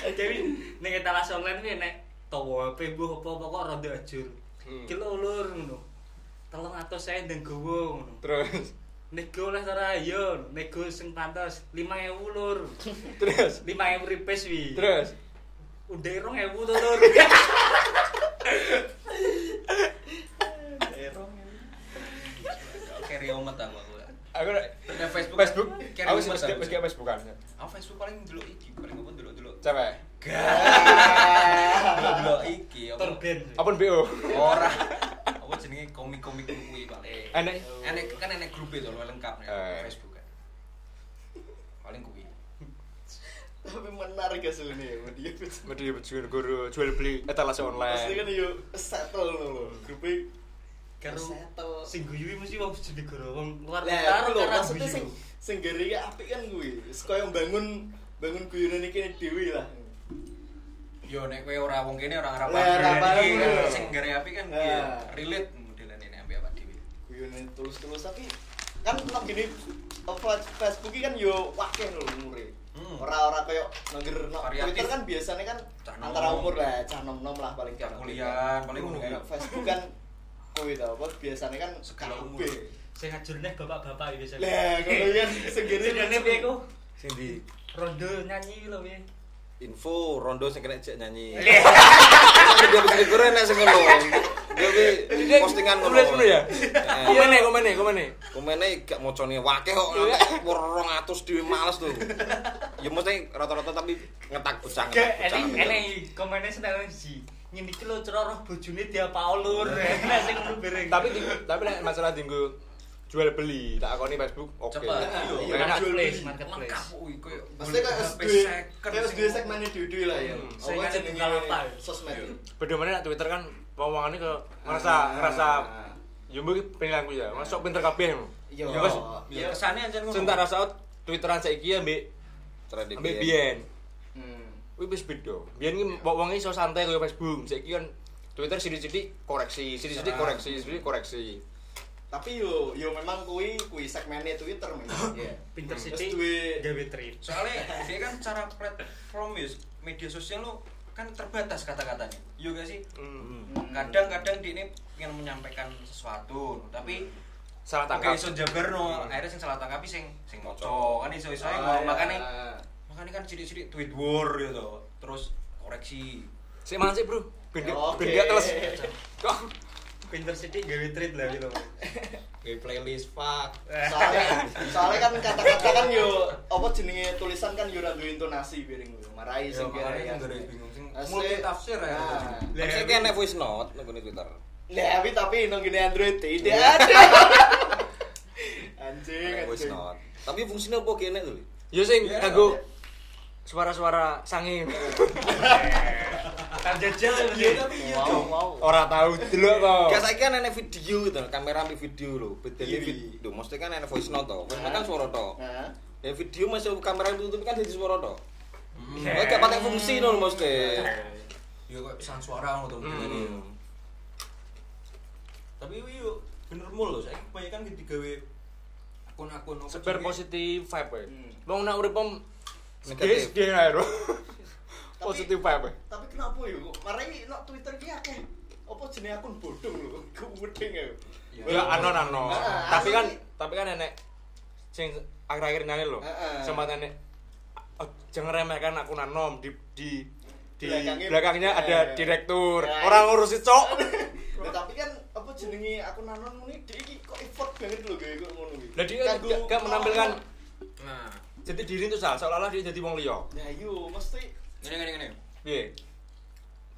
S7: Jadi ning etalase online kuwi nek tawa HP mbuh apa-apa kok rada ajur.
S1: Hmm.
S7: Iki lho ulur ngono. 300 saya ndeng gowo ngono.
S1: Terus
S7: Nego oleh ora yo, nego sing pantas 5000 lur.
S1: terus
S7: 5000 ripes wi.
S1: terus
S7: Udah 2000 to lur.
S3: keri omet
S1: aku
S3: Nah, Facebook
S1: Facebook.
S3: Kira
S1: Aku
S3: umat
S1: sih mesti
S3: aku.
S1: mesti Facebookan.
S3: Aku Facebook paling dulu iki, paling apa dulu dulu.
S1: Cewek.
S3: Dulu iki apa?
S7: Terben.
S1: Apun BO.
S3: Ora. Apa jenenge komik-komik kuwi
S4: Eh.
S3: paling.
S1: Enek.
S3: Enek kan enek grup itu loh lengkap nih
S1: Eh.
S3: Facebook kan. Paling kuwi.
S5: tapi menarik hasilnya ya media pasti
S1: Mesti jual guru jual beli etalase
S5: kan
S1: online.
S5: yuk settle loh grupnya
S7: Karo
S5: settle
S7: sing guyuwi mesti wong jenegara wong luar
S5: Lah,
S7: karo
S5: lho,
S7: karena
S5: Nah, maksudnya
S7: guyu.
S5: sing sing gere ya apik kan kuwi. Wis koyo bangun bangun guyonan iki dhewe lah.
S3: Yo nek kowe ora wong kene ora ngarep Iya,
S5: Lah, ora paham lho.
S3: sing gare api kan
S5: Nah.
S3: iya, relate modelan ini ambek awak dhewe.
S5: Guyonan terus-terus tapi kan tetap gini apa, Facebook iki kan yo wakil lho umure.
S3: Hmm.
S5: Ora ora koyo nongger no
S3: Variatif.
S5: Twitter kan biasanya kan
S3: Cah nom.
S5: antara umur lah, cah nom-nom lah paling
S3: Cah
S5: gak
S3: kuliahan, paling ngono
S5: ngono.
S3: kuwi.
S5: Facebook kan kuwi tau, apa biasanya kan
S3: Segala umur.
S5: kabeh.
S7: Sing ngajurne bapak-bapak iki biasanya.
S5: Lah, ngono kan sing gere
S7: Jenenge piye ku?
S4: Sing di
S7: Rondo nyanyi lho piye.
S4: info rondo sing kena cek nyanyi. Dia bikin guru enak sing ngono. Dia bi- postingan ngono.
S1: Tulis ngono ya?
S4: Eh,
S1: Komen nih, komen nih, komen nih.
S4: Komennya gak mocone wakeh kok rong atus dhewe males tuh. Ya mesti rata-rata tapi ngetak bocah.
S7: Ke
S4: ngetak bocah,
S7: eling
S4: ngetak.
S7: eling komene seneng siji. Ngene iki lho cara roh bojone diapaulur. Nek sing ngono bereng.
S1: Tapi di- tapi nek masalah tinggu jual beli tak akoni Facebook oke.
S3: Cepet.
S1: Iya, enak.
S7: marketplace,
S3: Lengkap
S7: marketplace.
S3: kuwi koyo
S5: Pasti kayak
S3: HP
S5: SD,
S3: second, Hmm,
S5: kayak
S3: sing
S5: SD segmennya dulu lah ya.
S7: Saya
S5: Apa
S7: ingat
S5: jenenge
S3: ya?
S7: Bukalapak.
S5: Sosmed.
S3: Iya.
S1: Beda mana nek Twitter kan wong-wongane ke ngerasa ngerasa yo mbok penilaianku ya. Masuk pinter kabeh.
S5: Yo.
S1: Ya, wes.
S5: Iya.
S3: Ya kesane anjen
S1: Sing tak rasa Twitteran saiki ya mbek
S4: Trending
S1: Ambek
S4: biyen.
S1: biyen.
S5: Hmm.
S1: Kuwi wis beda. Biyen ki mbok wong iso santai koyo Facebook, saiki kan Twitter sidik-sidik koreksi, sidik-sidik
S3: Serang.
S1: koreksi, sidik koreksi.
S5: Tapi yo yo memang kui kui segmennya Twitter memang. Iya.
S7: Pinter
S5: Terus
S7: sithik
S5: duwe-
S7: gawe trip.
S3: soalnya dia kan cara platform ya, media sosial lo kan terbatas kata-katanya iya gak sih
S5: Hmm.
S3: kadang-kadang dia ini ingin menyampaikan sesuatu tapi
S1: Salah
S3: oke
S1: tangkap.
S3: iso jabarno
S1: Hmm.
S3: akhirnya sing salah tangkapi sing sing moco kan iso iso
S5: Ah, iya.
S3: makanya makanya kan sidik-sidik tweet war gitu terus koreksi
S1: Sik mangan sik, Bro. Ben
S5: Oke.
S1: ben gak teles. Kok
S7: Pinter sithik gawe trip lah gitu.
S3: Gaya playlist fuck
S5: Soalnya, soalnya kan kata-kata kan yo apa jenenge tulisan kan yo ra duwe intonasi piring yo marai
S3: ya
S5: sing kira
S3: makanya
S5: ya.
S3: yang dari bingung sing
S5: Asli.
S3: multi tafsir ya
S5: Nah.
S4: Tapi saya kena voice note nunggu di Twitter.
S5: Lah tapi tapi nang gini Android tidak
S3: Iya.
S5: ada. Anjing,
S4: Kena voice
S5: anjing.
S4: note. Tapi fungsinya apa kene tuh?
S1: yo sing kanggo suara-suara sanging.
S7: Kan jajal ya, Mas.
S5: Iya,
S1: Ora tau delok to.
S4: Gak saya kan enak video gitu, kamera ambil video loh. Beda
S5: Iya, iya.
S4: video. Duh, mesti kan enak voice note toh. Voice note kan suara toh.
S5: Hah?
S4: Ya video masuk kamera tutup kan jadi suara toh.
S7: Eh.
S4: Kok gak pakai fungsi nol mesti.
S3: ya kayak pisan suara ngono tuh
S4: Hmm.
S3: tapi iya bener mul loh saya kebanyakan ketika akun-akun apa
S1: Sebar
S3: jenenge?
S1: positif vibe wae.
S5: Hmm.
S1: Wong nek urip om Negatif
S4: Negatif.
S1: dia ae, Bro. Positif vibe. wae.
S5: Tapi kenapa yo kok marai nang Twitter ki akeh apa jenenge akun bodong lho. Kuwedeng yo.
S3: Iya.
S1: Ya anon anon.
S5: Ah,
S1: Tapi kan
S5: asli.
S1: tapi kan nenek sing akhir-akhir nane lho.
S5: Heeh.
S1: Sempat nenek "Oh, jangan remehkan aku nanom di di di
S5: Belakangnya-
S1: belakangnya
S5: Eh.
S1: ada direktur.
S5: Ya,
S1: Orang ngurusi cok.
S5: Nah, tapi kan apa jenenge aku nanon ngene dia iki kok effort banget lho gawe kok ngono iki.
S1: Lah dia
S5: Kanggo-
S1: gak- gak menampilkan
S3: nah
S1: jati diri itu salah, seolah-olah dia jadi wong liya.
S5: Nah, yo mesti
S3: gini gini gini
S1: Piye?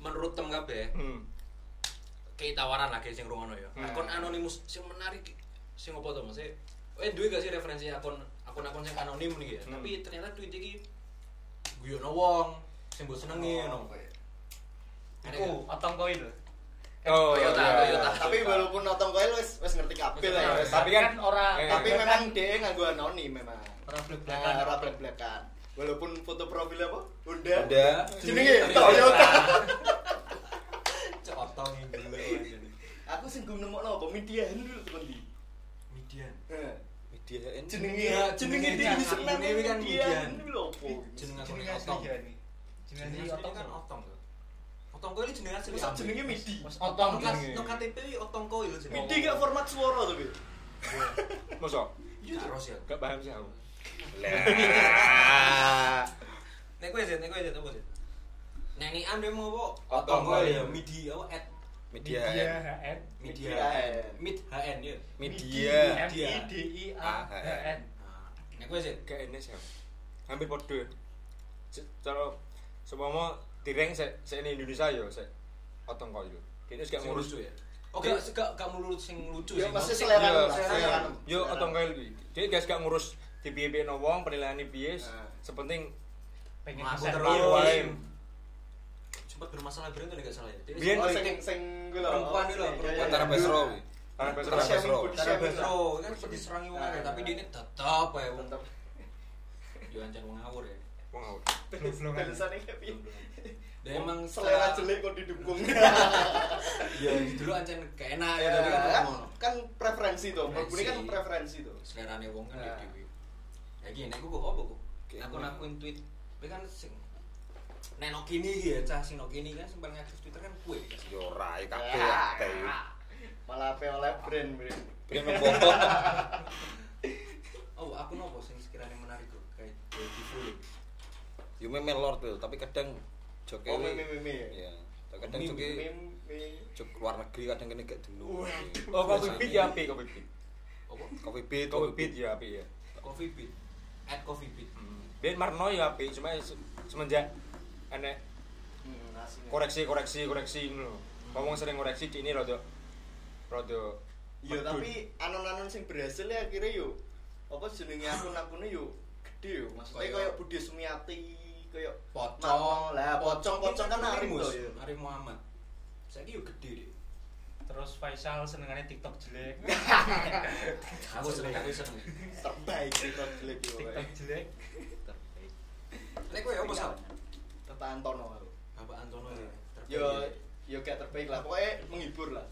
S3: menurut tem kabeh
S1: Hmm.
S3: kayak tawaran lah kayak sing rungono ya
S1: Hmm.
S3: akun anonimus sing menarik sing apa tuh mas eh duwe gak sih referensi akun akun akun sing anonim nih ya
S1: Hmm.
S3: tapi ternyata tweet iki guyono wong sing mbok senengi ngono
S7: Iku otong koin lho.
S1: Oh,
S3: Toyota,
S1: iya, iya.
S3: Toyota.
S5: tapi walaupun notong kowe lu wis wis ngerti kabeh lah ya.
S1: Tapi kan-
S7: ora
S1: eh,
S5: Tapi memang dia nganggo anonim memang.
S7: ora
S5: Nah,
S7: blek-blekan.
S5: ora blek-blekan. Walaupun foto profil apa? Honda.
S4: Honda.
S5: Jenenge ya? Toyota.
S3: cotong gila
S5: Aku sing gum nemokno apa media dulu temen di.
S3: median
S5: Eh,
S4: Media ini.
S5: Jenenge
S7: Ya,
S3: Media,
S5: Nah, jenenge
S3: jenenge
S5: dia
S3: kan,
S5: seneng
S3: ini kan
S5: media
S3: median.
S5: dulu apa?
S3: jeneng akun
S14: jenenge asli
S3: otong
S14: ya ini jenenge
S3: jeneng
S14: asli
S3: otong kan otong tuh otong koil jeneng asli
S5: Masa jenenge midi.
S3: otong
S7: Otong
S3: kan
S1: jenenge.
S3: no KTP otong koil ya, jeneng
S5: Midi gak format suara tapi.
S1: Mosok?
S3: terus ya
S1: Gak paham sih aku.
S3: Nek kowe Zed, nek kowe Zed apa Zed? Nyanyian dia mau apa?
S1: Otong
S3: Otong kowe
S1: kowe.
S3: ya midi apa at
S4: media HN.
S7: HN
S15: media
S3: mid HN ya
S4: media
S7: M I D I A N
S3: nek kowe Nah, sih
S1: gak enes ya hampir podo ya Se- cara seumpama di rank se se ini Indonesia yo se otong kok yo ini gak
S3: gak
S1: ngurus
S3: lucu ya oh gak gak gak melulu sing lucu
S5: Ya
S3: sih
S5: pasti selera
S3: maksudnya-
S5: lu
S1: Iya,
S5: lah,
S1: selera.
S5: selera lu.
S1: yo
S5: Selera.
S1: otong kok yo dia guys gak ngurus di piye no wong penilaian piye
S5: Nah.
S1: sepenting
S7: pengen
S3: Melaku
S7: konser
S3: terus.
S1: tahu wae
S3: sempat bermasalah Brian tuh nggak salah ya Dia-
S1: Biyen-
S5: Oh, sing sing gue loh.
S3: Perempuan gue loh,
S5: Iya,
S3: perempuan.
S5: iya.
S4: antara Besro
S1: karena
S4: Terus
S1: besok
S4: Basro.
S5: body
S3: Cara
S5: shaming lah.
S3: Basro kan seperti serangi wong akeh, tapi dia ini tetap ya wong
S5: Tetep.
S3: yo ancen wong ngawur ya.
S1: wong ngawur
S5: Tulisannya kayak piye?
S3: Dan emang
S5: Iya. selera
S3: secara-
S5: jelek kok didukung.
S3: Iya, dulu ancen gak enak ya
S5: Ya,
S3: tapi kan
S5: kan,
S3: ngono.
S5: kan preferensi tuh. Menurut gue kan
S3: Preferensi.
S5: preferensi tuh.
S3: Selerane wong kan
S5: Nah.
S3: dhewe. Ya iki nek kok opo kok. Aku nakuin tweet, kowe kan sing nek no kini iki ya, cah sing no kini kan sempat ngaktif Twitter kan kowe.
S4: yo rai Iya, kabeh Ya,
S5: Ya.
S4: teh
S5: Malah apa oleh brand brand.
S4: pengen foto
S3: Oh, aku nopo sing sekiranya menarik kok kayak kayak di follow.
S4: yo memang lord tuh tapi kadang joke
S5: Oh meme meme.
S4: ya kadang
S3: Meme,
S4: joke
S5: Meme.
S4: joke luar negeri kadang kene gak dulu
S1: oh kopi beat ya api kopi beat
S3: Opo?
S4: kopi beat
S1: kopi beat ya api ya
S3: Coffee Beat. At Coffee Beat. Hmm.
S1: ben marno ya api cuma se- semenjak enek
S5: Hmm, asing.
S1: koreksi koreksi koreksi ngono ngomong sering koreksi di ini rada rada
S5: Iya
S1: medun.
S5: tapi anon-anon sing berhasil ya akhirnya yo apa jenenge akun-akunnya yo gede yo. Maksudnya
S3: Kayak-
S5: kayak Budi Sumiati, kayak
S3: Pocong.
S5: Marno. lah pocong pocong kan arim
S3: Arimus.
S5: tuh. ya.
S3: Arim Muhammad. Saiki yo gede deh.
S7: terus Faisal senengannya TikTok jelek
S3: Aku seneng, aku seneng.
S5: Terbaik itu jelek yo.
S7: TikTok jelek
S3: Nek kowe opo sal?
S5: Tata Antono aku.
S3: Bapak Antono ya. terbaik
S5: yo
S3: ya.
S5: yo gak terbaik lah pokoknya menghibur lah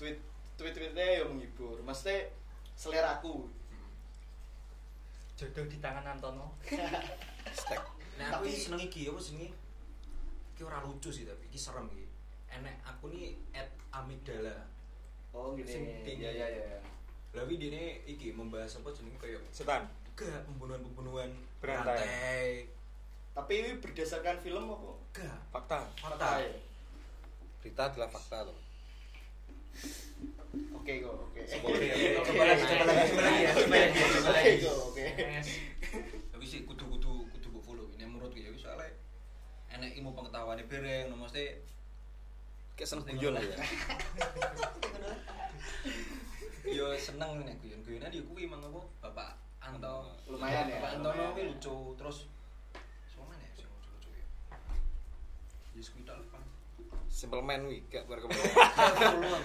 S5: tweet tweet tweetnya yo menghibur maksudnya selera aku
S7: jodoh di tangan Antono
S4: stack
S3: Nah,
S5: Tapi-
S3: aku iki seneng iki apa senengi? Iki ora lucu sih tapi iki serem iki. Enek aku nih at amigdala.
S5: oh
S3: Sing ding.
S5: ya ya ya ya.
S3: Lawi dene iki membahas apa jenenge kaya
S1: setan
S3: gak pembunuhan-pembunuhan
S1: Berantai.
S5: tapi ini berdasarkan film apa
S3: Gak
S1: fakta
S3: fakta.
S5: ya?
S4: berita adalah fakta tuh
S5: oke kok oke
S7: coba lagi coba lagi coba lagi ya coba lagi coba
S5: oke
S7: lagi
S5: kok oke
S7: Yes.
S3: Tapi sih kudu-kudu kudu mbok follow. Nek menurut gue ya wis soalnya enek ilmu pengetahuane bareng no mesti
S4: kayak seneng guyon ya
S3: yo seneng nek guyon-guyonan yo kuwi mang apa Bapak Anto.
S5: lumayan ya
S3: Bapak Antono
S5: lumayan.
S3: kuwi lucu terus semua ya sing lucu-lucu ya. Ya kuwi tak lupa.
S4: simple man wi gak berkembang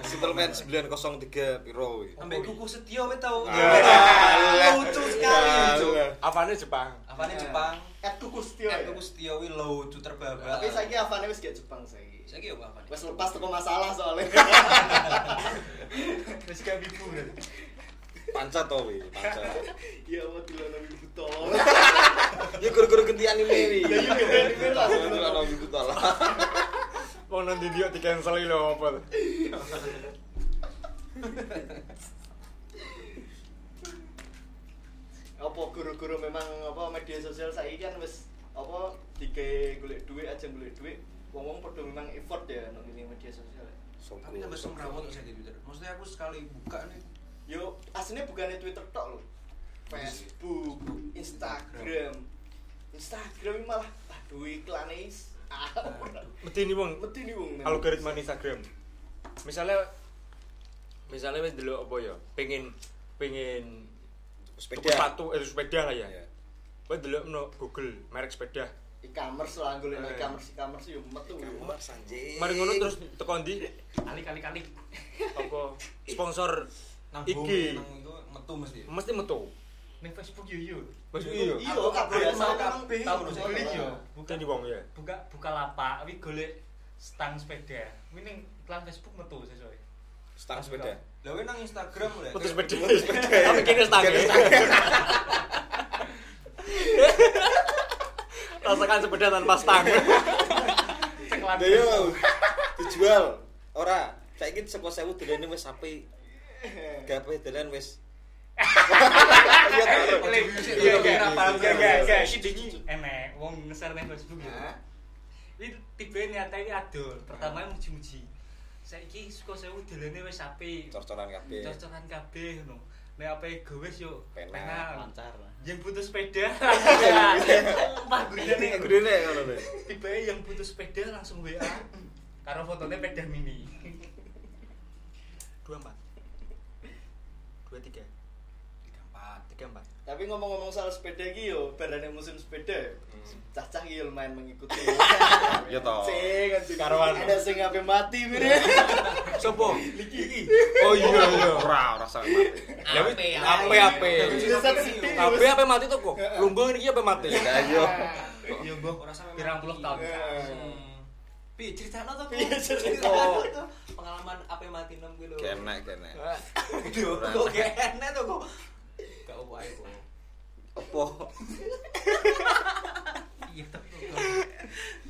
S4: simple
S3: Sebelum
S4: man 903 piro wi
S3: Ambek kuku setio we tau.
S4: Ah.
S3: Lucu sekali lucu.
S5: Ah,
S1: apane Jepang
S3: Apane
S5: Iya.
S3: Jepang?
S5: at kuku setio
S3: Eh
S5: ya
S3: kuku setio we lucu terbabak.
S5: oh tapi saiki Avane wis gak Jepang saiki
S3: Saiki yo apa
S5: wis lepas teko masalah soalnya
S7: terus gak bibu
S4: panca to wi panca
S5: iya mau dilono ibu tol
S4: ya guru-guru ganti anime wi
S5: Ya, iya, ganti anime lah.
S4: Dilono ibu tol.
S1: wong nanti dia di cancel lho apa tuh?
S5: apa guru-guru memang apa media sosial saiki kan wis apa dike golek duit aja golek duit wong-wong padha memang effort ya nek ini media sosial
S4: Sogo,
S3: Tapi tambah
S4: sogo.
S3: semrawut kok saya di Twitter. Maksudnya aku sekali buka nih
S5: yo aslinya bukannya Twitter tok lho Facebook Instagram Instagram ini malah aduh iklane is
S1: mesti ini wong
S5: mesti nih wong memang.
S1: algoritma Instagram misalnya misalnya wis delok apa ya pengen pengen tuku
S4: sepeda
S1: sepatu eh sepeda lah ya
S4: Iya.
S1: wis delok no Google merek sepeda
S5: e-commerce lah golek e-commerce e-commerce yo metu
S4: Mas anjing.
S1: mari ngono terus teko ndi
S7: kali kali kali
S1: apa sponsor
S3: nang
S1: Iki.
S3: bumi nang itu metu mesti.
S1: mesti metu
S7: nih Facebook yo yo
S1: wis iya
S5: iya kabeh
S3: Aku
S5: asal
S3: kabeh. Tahu lho, saya
S5: beli
S3: beli
S7: iya.
S5: yo
S1: bukan di wong ya
S7: buka buka lapak wi golek stang sepeda wi ning iklan Facebook metu sesuai
S4: stang sepeda
S3: Lah we nang Instagram
S15: ya.
S3: lho.
S1: metu sepeda
S15: gitu.
S1: tapi kene stang rasakan sepeda tanpa stang
S7: ceklan
S4: Lah yo dijual ora. Saiki sapa sewu dolene wis sapi. Gawe dolan wis. Iya toh.
S7: Iya, iya, iya, iya, iya, enek wong ngeser nang Facebook ya. Ini tiba niatnya ini adol, pertama muji-muji. saiki saka sewu delene wis apik.
S4: Cor-coran kabeh.
S7: Cor-coran kabeh ngono. Nek ape gowes yo
S4: Penal.
S7: Lancar. Yang butuh sepeda. Sumpah gurine
S4: Gurine ngono lho.
S7: tiba yang butuh sepeda langsung WA. Karo fotonya sepeda mini.
S1: dua empat dua tiga tiga empat
S5: Tapi ngomong-ngomong soal sepeda iki yo, barane musim sepeda. Cacah iki yo lumayan mengikuti.
S4: Iya toh.
S5: Sing anjing.
S4: Karuan.
S5: Ada sing HP mati mire.
S1: sopo oh iya iya
S4: Ora ora sangat mati.
S1: Ya wis, ape ape
S5: Satu sedih.
S1: ape ape mati tuh kok lumba ini ape mati
S4: Ya yo.
S7: Yo mbok
S15: Ora sampe
S7: pirang
S15: mati. Hmm.
S7: puluh tahun.
S3: Hmm.
S15: Pi cerita no tuh.
S5: Iya, cerita.
S15: tuh. Pengalaman apa yang mati enam gitu.
S4: Kenek kenek.
S15: Aduh, kok gak enak tuh kok. Gak apa ae kok.
S4: Opo?
S7: Iya tapi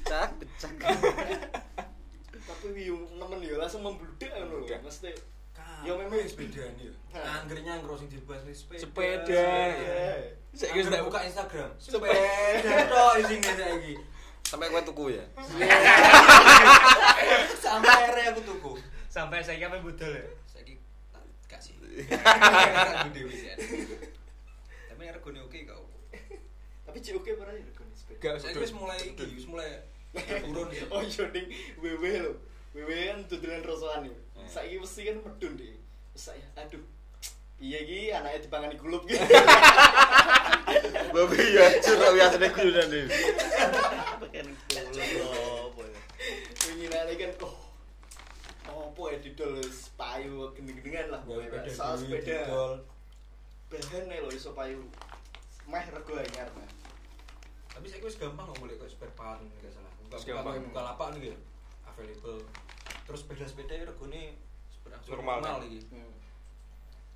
S4: Cak becak.
S5: Tapi yo nemen yo langsung membludak ngono lho. Mesti
S15: Kan.
S5: yo memang
S15: sepedaan ya.
S5: Nah.
S15: Anggernya angger sing dibahas ini sepeda.
S1: Sepeda.
S5: Eh,
S15: Angger
S1: Saiki wis tak
S15: buka Instagram.
S5: Sepeda.
S15: Sepeda tok isine saiki.
S4: Sampai kowe tuku ya.
S15: Sampai akhirnya aku tuku.
S7: sampai saiki ape budal ya.
S3: Saiki tak kasih. Aku dhewe sih. Tapi nek regone oke gak opo.
S5: Tapi cek oke barane rekon sepeda.
S1: gak
S3: Saiki wis mulai iki, wis mulai turun ya.
S5: Oh yo ding wewe lho. Wewe kan dodolan rosokan yo. Saiki mesti kan medun deh. Saya aduh. Iya iki anaknya dipangani gulup gitu.
S4: Babi ya curah biasane guyonan iki.
S5: Wingi nane kan oh. Opo ya didol payu gendeng-gendengan lah
S15: Gawe
S5: pokoknya.
S15: sepeda
S5: Soal
S15: dulu,
S5: sepeda.
S15: didol.
S5: Bahan lho iso payu. Meh rego anyar. Meh.
S3: Tapi saiki wis gampang kok mulai kok spare part nek gak salah. Buka
S1: Wis
S3: buka
S1: gampang.
S3: buka lapak nih ya. Available. Terus sepeda-sepeda ya regone sepeda-
S1: Normal.
S3: iki.
S5: Hmm.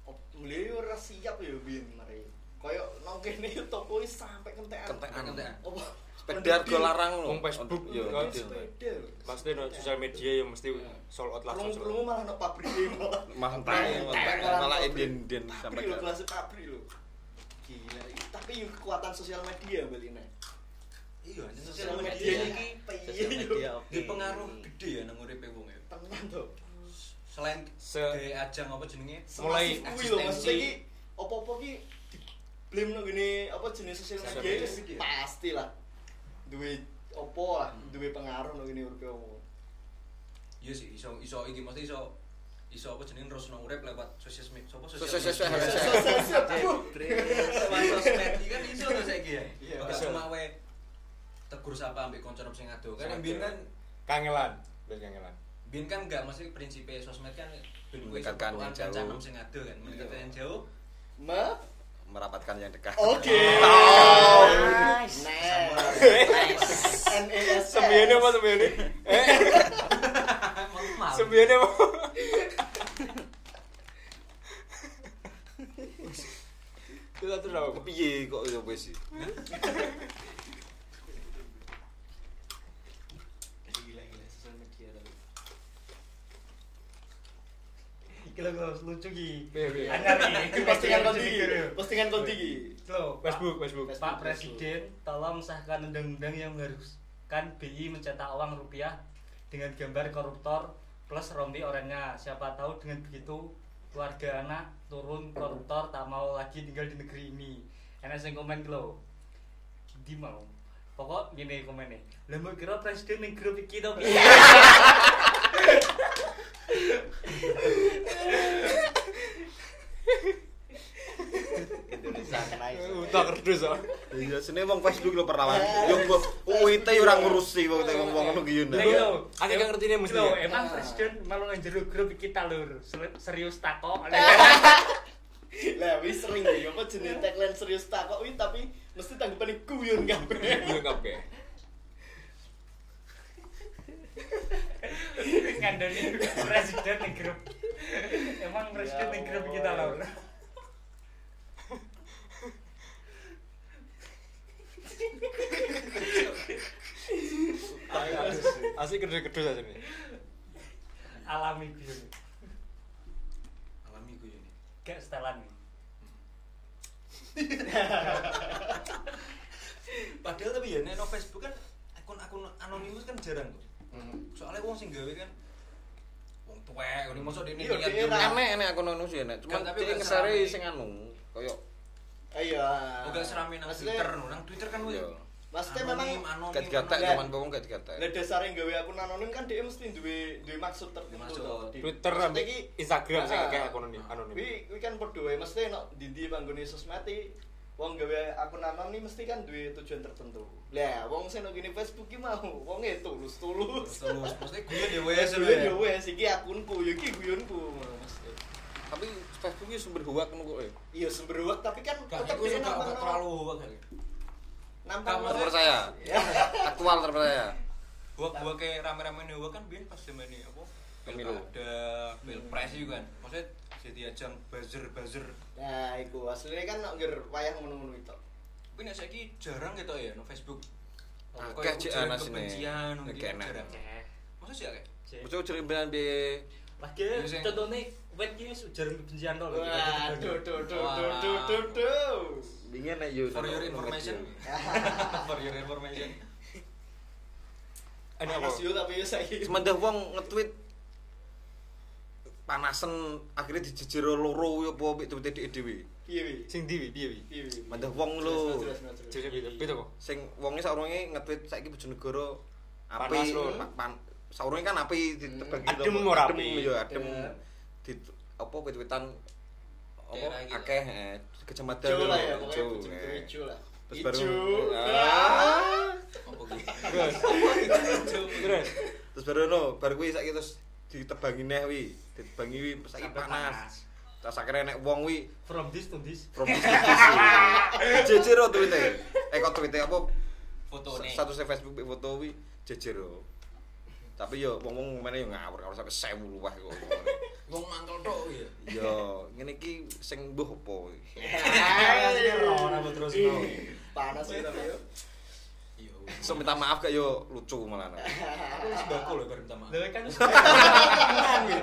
S5: Oh, beliau ora siap ya bin mari. Koyo nang kene toko iki sampe kentekan.
S4: Kentekan.
S5: Opo?
S4: Sepeda go larang lho.
S1: Wong Facebook.
S4: Yo.
S1: Yo.
S5: Sepeda. lho.
S1: pasti no sosial media yang mesti sold out langsung sold
S5: Krungu-krungu
S1: out.
S5: malah nang pabrike malah.
S4: Mantai, mantai. malah inden-inden sampai
S5: Pabrik lho,
S4: ke
S5: kelas pabrik lho. Gila, i- tapi yuk kekuatan sosial media balina.
S3: Iya, anjing,
S5: Sosial
S3: sosial media
S5: media
S3: iki
S5: iki piye yo.
S3: di pengaruh gede ya nang uripe wong ya.
S5: Tenan to.
S3: Selain
S1: Se-
S3: gede ajang apa jenenge?
S1: Mulai
S5: Semasif kuwi lho maksudnya
S3: eksistensi.
S5: iki opo-opo ki blame nang ngene apa jenis sosial
S3: Sosial
S5: media
S3: media.
S5: iki pasti lah. Duwe opo lah, duwe pengaruh nang ngene uripe wong.
S3: Iya sih, iso iso iki mesti iso iso apa jenenge nerusno urip lewat sosial media. Sopo
S4: Sosial- sosial-
S3: media?
S4: sosial-
S3: Lewat sosmed iki kan iso to saiki ya.
S5: Iya.
S3: Ora cuma wae tegur sapa ambek kanca sing ngadu. Kan
S1: Sing
S3: mbien
S1: ado.
S3: kan
S1: kangelan biar kangelan
S3: mbien kan enggak mesti prinsipe sosmed kan ben kowe iso
S4: Mendekatkan
S3: tuan
S4: yang jauh.
S3: kanca sing ngadu kan, mendekatkan
S5: Iya.
S3: yang jauh.
S5: Ma?
S4: merapatkan yang dekat.
S5: Oke.
S3: Oh,
S16: Nice.
S5: NAS.
S1: sembiannya apa sembiannya eh
S3: Ah, Normal.
S1: sembiannya apa kita terus apa
S4: Piye kok yo wis sih.
S5: Gila gila sosial media tapi.
S7: Iki lho guys, lucu iki.
S1: Piye, piye?
S7: Anyar iki.
S5: Postingan
S7: Lucu
S5: konti.
S7: iki, lho.
S5: Postingan konti. iki.
S7: Loh, Pak-
S1: Facebook Facebook
S5: Facebook.
S7: Pak Presiden, tolong sahkan undang-undang yang mengharuskan BI mencetak uang rupiah dengan gambar koruptor plus rompi orangnya. Siapa tahu dengan begitu keluarga anak turun koruptor tak mau lagi tinggal di negeri ini. Enak sing komen ki lho. Di mau. Pokok gini komennya. Lah mau kira presiden ning grup iki to piye?
S5: Indonesia kena iso.
S1: udah kerdus
S4: oh.
S1: ah
S4: Iya, sini wong Facebook lo perawan. Yo mbok UIT yo ora ngurusi wong wong ngono ki yo.
S7: Lah iki lho.
S1: Aku gak ngerti ini mesti
S7: Lho,
S1: ya.
S7: emang presiden malu nang jero grup iki ta lur. Serius takok.
S5: Lah wis sering ya apa jenenge tagline serius tak kok wih tapi mesti tanggapane guyon kabeh.
S1: Iya kabeh.
S7: ngandani presiden nih grup emang presiden nih grup kita loh
S1: Asli kerdus-kerdus aja nih.
S7: alami gue
S3: Alami ya, gue ini.
S7: gak setelan nih
S3: Padahal tapi ya nek no
S5: Hmm.
S3: Facebook kan akun-akun anonimus kan jarang tuh. Soalnya wong sing gawe kan wong tuwek ngene mosok dene
S5: Iya,
S3: niat
S5: dia
S3: juga.
S5: ra-
S4: Enek enek aku nonu sih enek. Cuman
S3: Kan, tapi
S4: tapi
S3: gak
S4: ngesare
S3: serame.
S4: sing anu koyo
S5: Ayo. ah.
S3: Oga Oh, serame nang
S5: Maksudnya-
S3: Twitter, no. nang Twitter kan wih,
S4: Iya.
S5: Maksudnya
S3: anonim,
S5: memang
S3: anonim,
S4: gak digatek
S3: anonim.
S5: Enggak.
S4: cuman wong gak digatek.
S5: Lah dasare gawe akun anonim kan dia mesti duwe duwe maksud tertentu.
S15: Maksud.
S5: toh. Di-
S1: Twitter
S5: maksudnya
S1: sampe
S5: ki
S1: Instagram sing
S5: Ah.
S1: akeh akun anonim.
S5: kuwi kuwi kan padha wae mesti nek ndi-ndi panggone sosmed iki wong gawe akun anonim mesti kan duwe tujuan tertentu. Lah wong sing nang gini Facebook ki mau wong e tulus-tulus.
S3: Terus mesti gue dewe
S5: Wes
S3: seru
S5: yo
S3: ya.
S5: yo wes iki akunku yo iki guyonku. Mesti.
S4: Tapi Facebook iki sumber hoak ngono kok. eh. ya.
S5: Iya semberuak tapi kan tetep
S3: Gak iku
S5: dia
S3: suka
S5: nampang
S3: terlalu hoak.
S5: nampang
S3: Kamu
S5: orang.
S4: Terpercaya. Aktual terpercaya.
S3: Hoak hoak kayak rame-rame nih hoak kan biyen pas zaman ini apa?
S4: Pemilu.
S3: Pilkada, pilpres juga kan. Maksudnya jadi ajang buzzer-buzzer.
S5: Nah, iku asline kan nek ngger wayah ngono-ngono itu.
S3: Tapi nek saiki jarang gitu ya no Facebook.
S4: Akeh cek ana sini.
S3: Kebencian,
S4: Nek
S3: mungkin
S4: enak.
S3: jarang. Masa sih akeh?
S4: Bocok cerimbelan piye?
S7: Lagi
S3: Iya, sing-
S7: contohnya wet gini ujaran kebencian tau lho.
S5: Wah, do do do do do do do.
S4: Dingin nek yo.
S3: For your
S4: nang- nang
S3: information.
S4: kecil.
S3: For your information.
S1: Ini apa?
S5: Panas yo tapi yo saiki.
S4: Semendah wong nge-tweet panasen akhirnya dijejero loro yo apa mbek tweet dhewe.
S5: Piye wi?
S1: Sing di wi, piye wi?
S5: Piye wi?
S4: Mendah wong lho.
S5: Jelas, jelas, jelas, jelas.
S1: Jadi beda, beda kok.
S4: Sing wonge saurunge nge-tweet saiki Bojonegoro
S1: Panas
S4: api
S1: lho.
S4: pa- pan, saurunge kan api ditebagi
S1: Adem
S4: lho,
S1: ora
S4: adem
S1: api?
S4: yo
S5: Adem.
S4: adem. Di apa tweet-tweetan apa
S3: Daerah iki lho.
S4: akeh eh, kecamatan
S5: Ijo
S4: lho,
S5: lah ya, pokoknya
S4: ijo,
S5: bujuk
S4: eh.
S5: ijo lah.
S4: Terus baru-
S5: Ijo.
S4: Ah.
S3: Apa gitu?
S1: Terus, terus.
S4: Terus baru no, baru kuwi saiki terus ditebangi neh wi, ditebangi wi saiki panas. Terus akhirnya nek wong wi
S7: From this to this.
S4: jejero tweete. Eh kok tweete apa
S3: Foto nih.
S4: status Facebook mbek foto wi jejero. Tapi yo wong-wong ngomene yo ngawur kalau sampe 1000 luweh kok.
S3: Wong mangkel tok ya.
S4: Yo ngene iki sing mbuh apa iki?
S7: Aslinya rawan aku terus no.
S5: Panas ya tapi yo.
S3: Iya.
S4: So minta maaf gak yo lucu malah.
S3: Aku sembako lho bar minta maaf.
S7: Lha kan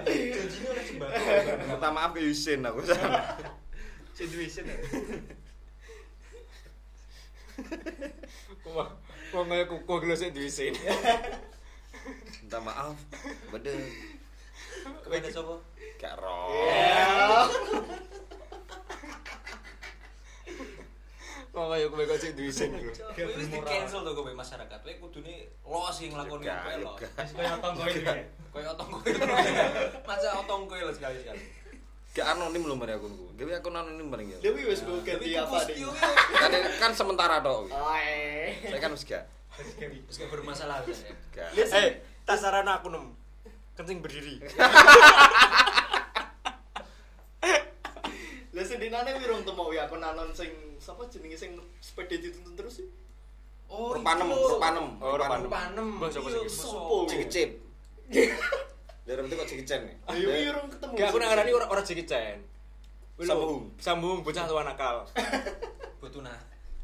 S3: Janjinya oleh sembako.
S4: Minta maaf ke Yusin aku.
S7: situation ya.
S1: Wah, wah meh kuku gelo sik duwe sin.
S4: Minta maaf. Bener.
S3: Kepada sapa?
S4: Gak ro.
S1: Wah kaya kowe kok sik duwe sin iku.
S3: Kowe wis di cancel to kowe masyarakat. Kowe kudune lo sing nglakoni
S4: Gak,
S3: kowe lo.
S4: gak.
S7: Wis koyo tonggo iki. ya.
S3: Kowe otong kowe. Masa otong kowe lo sekali-sekali.
S4: Gak anonim lho mari akunku. Gawe akun anonim paling ya.
S5: Dewi
S3: Nah,
S5: wis gue ganti apa
S3: Terus
S5: deh.
S3: yo.
S4: kan, kan sementara toh
S5: Ae.
S4: saya kan wis gak
S3: Wis gak bermasalah ya.
S4: gak
S1: Eh, tak saran aku nem. Kencing berdiri.
S5: Lah sedinane wi rung temu ya akun anon sing sapa jenenge sing sepeda dituntun terus sih?
S3: Oh,
S4: rupanem
S3: iya.
S4: rupanem
S1: Oh, rupanem.
S3: Rupanem.
S1: Mbah, sapa
S3: Iya,
S1: sih?
S3: sopo?
S4: cegecep dari itu kok cegecep nih
S1: Ah,
S5: Ayo wi rung ketemu.
S1: Gak aku nang ngarani ora ora Jackie Chan. Wih, lho.
S4: Sambung.
S1: Sambung bocah tua nakal.
S3: Botuna.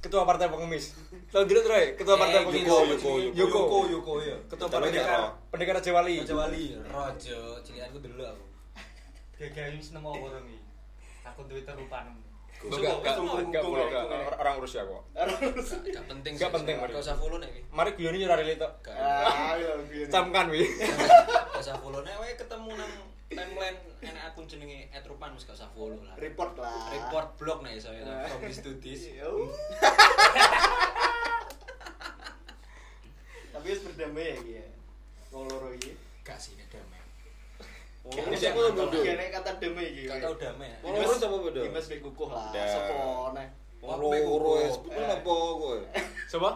S1: Ketua Partai Pengemis. Tahu dulu Troy, Ketua Partai
S3: Eh,
S1: Pengemis.
S4: Yoko, Yoko, Yoko.
S1: Yoko.
S3: Yoko, Yoko ya.
S1: Ketua
S4: Jawa
S1: Partai
S4: Jawa.
S1: Pendekar- Pendekar Raja Wali.
S3: Raja Wali, Rojo, cilianku dulu aku.
S7: Gagawe wis nemu apa iki. Aku duwe terupan.
S1: Enggak, enggak,
S5: Sungguh,
S1: enggak,
S5: sungguh,
S1: enggak,
S5: sungguh.
S1: orang- orang Rusia kok.
S3: Gak penting
S1: Gak penting, Mari.
S3: Gak usah follow nek iki.
S1: Mari guyoni ora relate tok.
S5: Ayo wi.
S1: Camkan wi.
S3: Gak usah follow nek wae ketemu nang timeline enak akun jenenge @rupan wis gak usah follow lah.
S5: Report lah. uh.
S3: Report blog nek iso ya. From this to this.
S5: Yo. Tapi wis berdamai ya iki ya. Wong loro iki.
S3: Gak sih nek damai. Oh, iya,
S4: Ini
S5: Kayaknya
S4: siapa bodoh?
S5: kayaknya kata damai iki.
S3: Gak tau damai.
S4: Wong loro siapa bodoh?
S5: Dimas wis kukuh lah.
S4: Dah.
S5: Sopo neh.
S4: wong
S3: Aku meh
S4: loro
S3: kuku.
S4: wis bukan apa kowe
S1: Eh. Coba.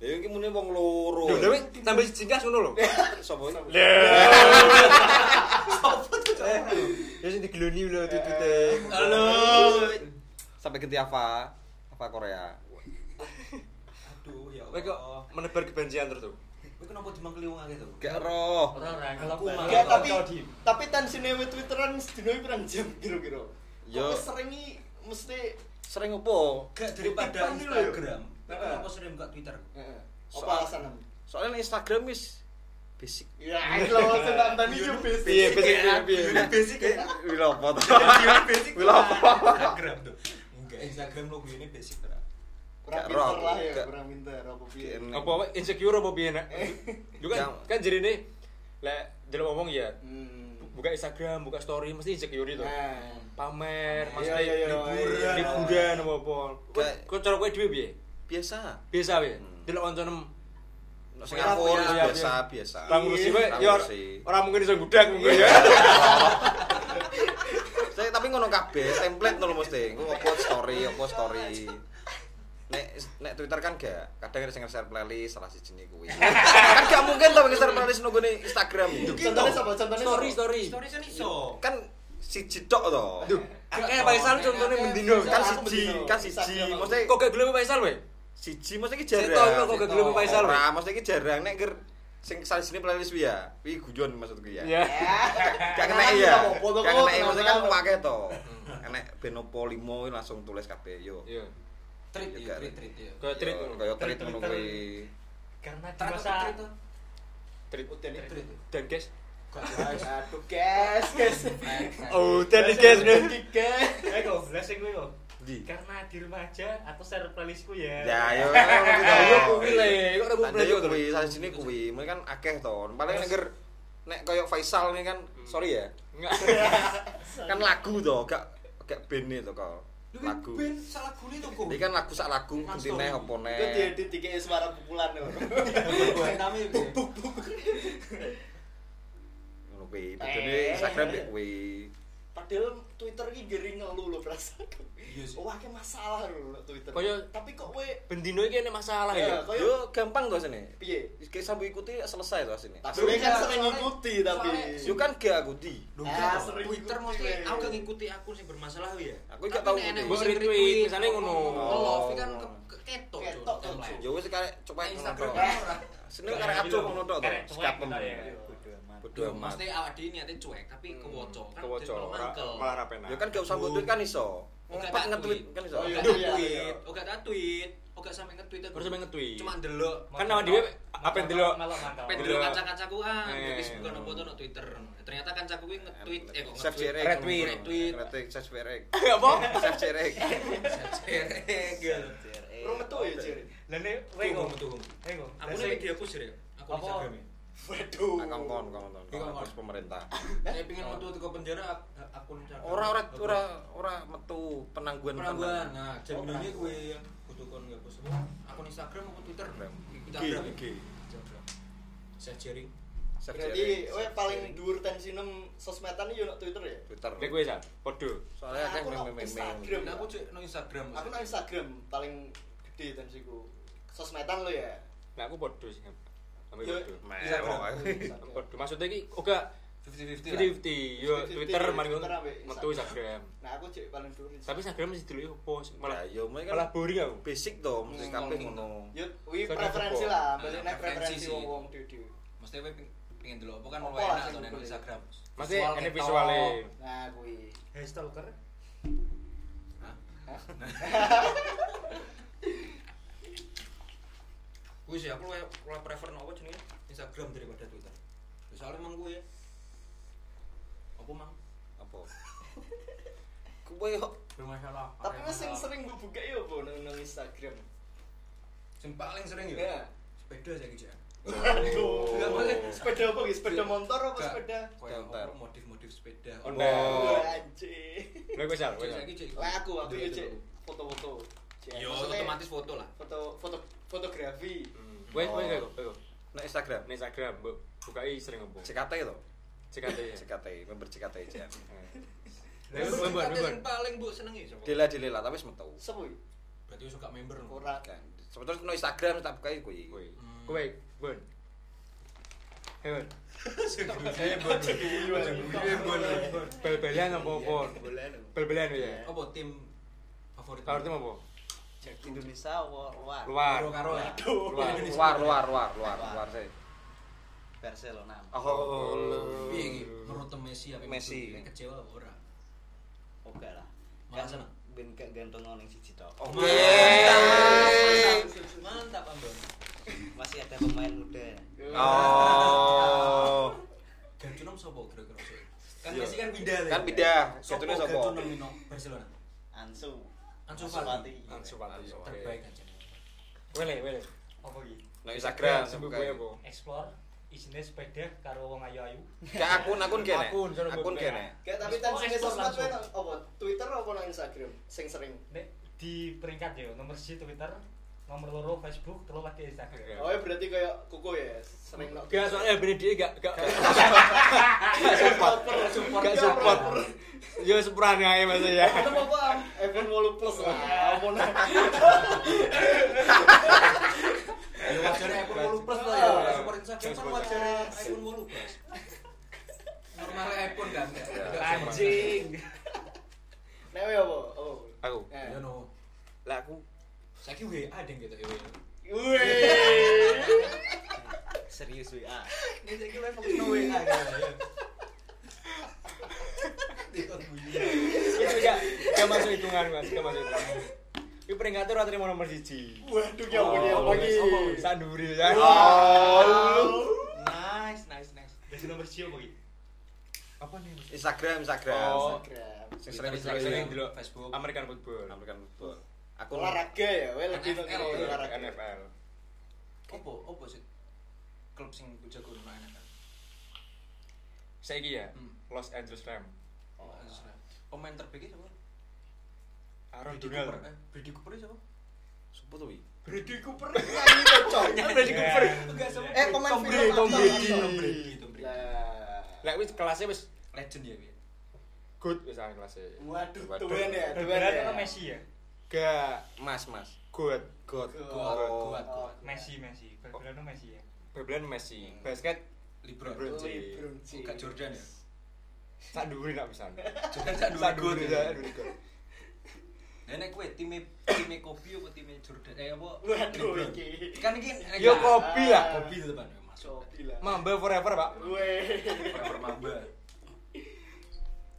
S4: ya iki muni wong loro
S1: Lho, tapi tambah singkat ngono lho.
S4: sapa iki?
S1: Ya sing digeloni lho tutute.
S3: Halo.
S4: sampai ganti apa apa Korea
S3: Aduh ya
S1: Kowe kok
S3: Allah.
S1: menebar kebencian terus tuh.
S3: Kowe kenapa dimangkeli wong akeh to?
S4: gak roh
S7: Ora ora ngelok.
S3: Aku malah
S5: Enggak, tapi
S7: Kocok di-
S5: tapi tensine we twitteran sedina iki pirang jam kira-kira. Yo
S4: Yo.
S5: sering iki mesti
S4: sering opo
S3: Gak daripada
S5: Kutipan dulu ya.
S3: Instagram. Kowe
S5: Heeh.
S3: Kenapa sering buka Twitter?
S5: heeh. Apa
S4: Soal-
S5: alasan?
S4: soalnya Instagram wis basic
S5: Ya, itu lho alasan tak tani yo basic.
S4: Iya,
S1: Piye piye piye, piye.
S3: Basic ya.
S4: Wila apa to?
S3: Iya, Basic.
S4: Wila apa?
S3: Instagram tuh. Enggak, Instagram lo gue ini basic lah.
S5: Kurang
S4: Gak
S5: pinter
S4: roh,
S5: lah ya,
S4: gak-
S5: kurang pinter apa piye.
S4: Kayak
S1: Apa apa, insecure apa piye nak? Lu kan
S4: Jangan.
S1: kan jadi nih lek jelek ngomong ya
S5: Hmm.
S1: buka Instagram, buka story mesti insecure itu.
S5: Nah.
S1: Pamer,
S5: Iya,
S1: maksudnya
S5: iya, iya.
S1: liburan,
S5: Iya.
S1: liburan apa apa.
S4: Kayak-
S1: Kau cara kowe dhewe piye?
S4: biasa
S1: Biasa piye?
S5: Hmm.
S1: Delok kanca nem
S4: Singapura
S1: Iya, iya.
S4: biasa biasa
S1: Lah
S5: Iya,
S1: ngurusi kowe
S4: Lah
S1: ya or-
S4: ngurusi.
S1: ora mungkin iso gudak mungkin ya.
S4: Saya tapi ngono kabeh, template ngono mesti. Engko upload story, upload story. Nek nek Twitter kan gak kadang ada sing share playlist salah siji niku kuwi. kan gak mungkin to nge-share playlist nunggu nih Instagram.
S5: Contohnya siapa? Contohnya
S1: Story
S5: siapa?
S1: story.
S3: Story kan iso.
S4: Kan siji tok to.
S5: Oh.
S1: Kayak Faisal contohnya mendino
S4: Kan
S1: kan
S5: Aku
S4: siji,
S5: begitu.
S4: kan siji.
S5: Instagram aku.
S4: Maksudnya
S1: kok gak gelem Faisal weh?
S4: siji mesti iki
S1: Saya tau kok
S4: jarang.
S1: gak gelem Faisal weh.
S4: Ora, mesti iki jarang nek ger sing salah sini playlist kuwi ya. Kuwi guyon maksudku ya.
S1: Ya.
S4: Gak kena
S5: Kenalan
S4: ya.
S5: kita apa-apa, kok,
S4: Gak kena ya, maksudnya kan
S5: kenalan.
S4: pake to. Enek Benopo limo langsung tulis kabeh yo.
S1: Iya.
S3: Treat
S4: Iya,
S3: ya,
S4: kan.
S3: treat treat ya.
S1: Kaya
S4: Yo,
S1: treat ngono.
S4: Kaya treat ngono kuwi.
S7: karena di
S3: Treat
S7: masa
S3: apa treat tuh?
S1: Treat.
S5: Udah nih.
S3: Treat.
S1: Dan guys,
S5: Aduh, guys, guys.
S1: oh dan guys.
S5: Guys.
S7: eh kok belas sing kuwi kok
S4: Di.
S7: karena di rumah aja aku share playlistku ya
S4: Ya
S1: Ayo
S4: yo.
S1: Nah, iya, kuwi le, kok ora
S4: Tanda
S1: kuwi
S4: yo
S1: to.
S4: kuwi salah sini kuwi. Mereka kan akeh to. Paling nek ger- nek kaya Faisal ini kan sorry ya. Kan lagu to, gak gak bene to kok. Lagu.
S3: Ben salah gune tuh kok.
S4: Ini kan lagu sak lagu kuntine opo ne.
S5: Itu dia kan di tiga suara pukulan ya. loh.
S3: Nami
S4: Ngono kuwi. Bedene Instagram ya kuwi.
S5: Padahal Twitter ini gering ngeluh loh perasaanku.
S3: Iya sih.
S5: Wah, kayak Oh, masalah loh Twitter.
S1: Kaya-
S5: Tapi kok we
S1: Bendino iki ana masalah
S5: Ya,
S1: ya.
S5: kaya-
S4: Yo gampang to sini.
S5: piye?
S4: Kayak sambu ikuti selesai to sini.
S5: Tapi we kan sering ngikuti tapi.
S4: Yo kan gak aku di.
S5: Ah, sering
S3: Twitter
S5: ngikuti,
S3: mesti
S5: weh.
S3: aku gak ngikuti akun sing bermasalah ya.
S4: Aku gak tau ngikuti.
S1: Mbok retweet, misalnya ngono.
S3: Love kan ke- ke- ketok.
S5: Ketok,
S3: Cuk.
S5: Cuk.
S4: Yo wis karek coba ngono
S3: Instagram
S4: tok.
S3: ora.
S4: Seneng karek acuh ngono tok to.
S7: Karek cuek
S4: Skapem.
S7: kita
S5: Iya,
S7: ya.
S4: Bodoh amat.
S3: Mesti awak dhewe niate cuek tapi kewoco kan.
S1: Kewoco,
S3: jadi
S1: Hmm, ora-
S3: mangkel.
S1: malah ra penak.
S4: Ya kan gak usah nge-tweet kan iso.
S3: Oke,
S4: Ngempak
S3: tak
S4: nge-tweet
S3: Oh, tweet.
S4: kan iso.
S5: Oh, iya.
S3: Gak tweet, oh gak tweet, oh gak sampe nge-tweet aku.
S1: Ora sampe nge-tweet.
S3: Cuma ndelok.
S1: Kan awak dhewe apa ndelok?
S7: malah mantap
S3: Pengen dulu
S1: Iya.
S3: kaca-kacaku ah,
S1: Eh.
S3: ngerti bukan apa tuh no Twitter. Ternyata kancaku kuwi nge-tweet eh kok
S4: Chef
S3: nge-tweet.
S4: Jerek.
S1: Retweet.
S4: Retweet. Retweet Chef Jerek.
S1: Apa?
S4: Chef Jerek.
S3: Jerek.
S5: Rong metu ya, Jir.
S7: Lah nek kowe kok
S3: Tuhum.
S7: kowe kok
S3: Aku nih media aku jerek. Aku
S7: Apa?
S3: Instagram.
S5: Waduh.
S4: Akang Nah, kon kon kon.
S3: Iya, kon.
S4: Harus pemerintah.
S3: Saya pengen metu teko penjara ak- akun Instagram.
S4: Ora ora ora ora metu penangguhan
S3: Penangguhan. Nah, jaminannya kuwi yang kudu kon ngapus semua akun Instagram akun Twitter. Instagram.
S4: G.
S3: Instagram. Saya sharing.
S4: Chef
S5: Berarti
S4: Jerek.
S5: we paling dhuwur tensinem sosmedan iki yo nak Twitter ya.
S4: Twitter.
S1: Nek kowe sal, podo.
S4: Soalnya akeh
S5: Aku nang
S4: meme-meme.
S5: Instagram.
S3: Nah, aku cek no Instagram.
S5: Aku nang Instagram paling gede tensiku. Sosmedan lo ya.
S1: Nek aku podo sih. Sampe
S5: Yo.
S1: podo.
S4: Mewah.
S1: Podo. Maksudnya iki oga
S3: 50-50 lah.
S1: 50-50 yo
S5: 50-50,
S1: Twitter mari ngono
S5: Twitter ampe
S1: metu Instagram.
S5: Nah, aku cek paling dhuwur.
S1: Tapi Instagram mesti dulu opo sih? malah
S4: Malah yo mesti
S1: malah
S4: kan
S1: boring aku.
S4: basic
S5: Hmm,
S4: to mesti kabeh ngono.
S5: Yo, wi
S1: Sorry,
S5: preferensi
S1: apa?
S5: lah, balik nek
S3: gitu. Nah, Preferensi
S5: preferensi
S3: sih.
S5: wong-wong dhewe.
S3: Mesti kowe peng- pengen dulu apa kan
S5: Apa
S3: luwe enak
S5: sih
S3: tuh nek
S5: kuwi?
S3: Instagram.
S1: Mesti ene
S3: ketok.
S1: visuale.
S5: Nah, kuwi.
S7: Hey stalker
S3: Kuwi sih aku luwe luwe prefer no apa jenenge Instagram daripada Twitter. Ya, Soalnya emang gue ya. Apa mang?
S4: Apa? Kuwe yo
S3: Bermasalah.
S5: Tapi wis sing sering mbok buka yo apa nang nang Instagram.
S3: Sing paling sering
S5: Ya.
S3: ya. Sepeda saya gitu ya.
S1: Oh.
S5: Aduh.
S3: Nggak boleh.
S5: Sepeda apa iki? Sepeda motor apa
S3: Oh. Iya. Nggak. Oh.
S5: sepeda?
S3: Kayak
S4: Bentar. Oh,
S3: apa, modif-modif sepeda.
S1: Ono.
S5: Wah, Anjir.
S1: Lha kowe sal, kowe
S3: Cek
S1: sal.
S3: saiki, cek.
S5: Lah aku aku yo cek
S3: Dulu, ya dulu.
S5: Iya, foto-foto. Cek,
S3: Yo
S5: Ya, maksudnya
S3: otomatis foto lah.
S5: foto foto fotografi.
S1: Hmm. Kowe kowe kowe kowe, kowe.
S4: nek Instagram.
S1: Nek Instagram mbok bukai sering opo?
S4: CKT to.
S1: CKT.
S4: CKT, member CKT aja.
S1: Eh. Lha kowe kowe,
S3: Tapi
S1: kowe.
S3: sing paling bu senengi siapa?
S4: Dela dela tapi wis metu.
S5: Sepo iki?
S3: Berarti wis suka member no.
S5: Ora.
S4: Kan. Sebetulnya no Instagram tak buka kuwi.
S1: Kowe.
S3: Hmm.
S1: Kowe, Bun. Hei, Bun. Bel-belan apa opo?
S3: Iya,
S1: Bel-belan ya.
S3: Apa tim favorit?
S1: Kalau tim apa?
S16: Indonesia war
S1: Luar.
S3: Karo karo lah.
S1: Luar.
S4: Luar, luar, luar, luar, luar sih.
S16: Barcelona.
S4: Oh,
S3: Piye iki? Menurut tem Messi apa?
S4: Messi.
S3: Messi kecewa apa ora?
S16: Oke lah.
S5: Kan
S3: Malah seneng.
S16: Ben gak gantung ning siji tok.
S4: Oke.
S3: Mantap Ambon.
S16: Masih ada pemain muda.
S4: Oh.
S3: Gancunom sapa kira-kira sih? Kan Messi kan pindah. ya?
S4: Kan pindah.
S3: Sopo
S4: Gancunom sapa?
S3: Gancunom Mino Barcelona.
S16: Ansu.
S3: Ansu
S16: Fati.
S3: Fati.
S1: Langsung pati.
S3: Terbaik aja.
S1: Wele, wele.
S7: apa iki
S4: No Instagram
S1: Sebut
S4: buka.
S1: ya, kowe apa?
S7: explore isine sepeda karo wong ayu-ayu.
S4: Kayak akun akun kene.
S1: Akun, sono
S4: Akun
S1: gue
S4: kene.
S5: Kayak tapi
S7: Oh,
S5: tensinya
S7: ekspor
S5: sosmed
S7: langsung.
S5: kuwi nang- apa Twitter apa nang Instagram sing sering.
S7: Nek di peringkat yo nomor 1 Twitter, nomor loro Facebook, terus lagi Instagram.
S5: Oh ya berarti kayak kuku ya sering nang.
S1: Gak soalnya bener dia gak gak
S5: support, support,
S1: gak support. Yo sepurane ae maksudnya.
S5: Apa apa? iPhone 8 Plus lah.
S16: Iya.
S5: Ampun.
S15: Ya wajarnya iPhone 8 plus
S1: Iya,
S15: lah ya. Support Instagram kan wajarnya iPhone 8 plus.
S3: Normalnya iPhone kan. ya.
S7: Anjing.
S5: Nek kowe apa? Apa?
S4: Aku.
S5: Eh.
S3: Ya no.
S4: Lah aku
S3: Saiki WA ding gitu ya.
S5: Wih.
S16: serius WA
S3: Ini saiki lu fokus no WA gitu ya.
S1: Iya, Itu gak gak masuk hitungan Mas, gak masuk hitungan. Iki peringkatnya ora terima nomor 1.
S5: Waduh ya ampun ya
S1: Oh,
S5: ampun iki.
S1: Sanduri ya.
S5: Oh.
S16: nice nice nice
S7: Dari nomor 1 apa iki?
S1: Apa nih? Mas?
S4: Instagram
S1: Oh.
S4: Instagram.
S1: ya?
S5: Instagram.
S1: Sing sering
S15: Twitter,
S1: sering
S3: Iya.
S15: Instagram,
S1: dulu
S15: Facebook.
S1: American football.
S4: American football. Akun
S5: Olahraga ya, kowe lebih nang
S3: NFL.
S1: Iya,
S5: olahraga.
S1: NFL.
S3: Opo opo sih? Klub sing gue jago nang enak.
S1: Saiki ya.
S3: Hmm.
S1: Los Angeles Rams.
S3: Pemain terbaiknya siapa?
S1: Aaron
S3: Brady
S1: Donald.
S3: Cooper. Eh, Brady Cooper siapa?
S4: Sopo tuh wi?
S5: Brady Cooper nyanyi to, coy.
S1: Brady Cooper.
S3: Enggak siapa?
S5: Eh pemain
S1: Tom
S5: film
S1: Brady, Tom
S5: apa?
S1: Brady.
S5: Tom
S1: Tom
S5: Brady.
S1: Brady.
S3: Tom Brady.
S5: Lah.
S1: Lah wis kelasnya wis
S3: Legend ya dia.
S1: good wis ah, kelasnya.
S5: Waduh,
S4: Waduh.
S5: tuan ya, tuan
S7: Berat
S5: ya.
S7: apa Messi ya?
S1: Gak
S4: Mas mas.
S1: good.
S4: God.
S5: God.
S4: God.
S5: Oh,
S7: Messi, Messi. Berat Messi ya.
S1: Berbelan Messi. Basket
S3: Libron.
S1: Lebron.
S5: LeBron James.
S3: Enggak Jordan ya.
S1: sak dhuwur nak pisan.
S3: Jordan sak dua
S1: Sak dhuwur ya. dhuwur gol.
S3: Nah, nek kowe time time Kobe apa time Jordan? Eh apa?
S5: Waduh
S3: Lebron.
S5: iki.
S3: Kan iki
S1: Yo kopi lah.
S5: Ah.
S3: Kobe itu kan masuk.
S5: Cobi lah.
S1: Mamba forever, Pak.
S5: Gue.
S3: Forever Mamba.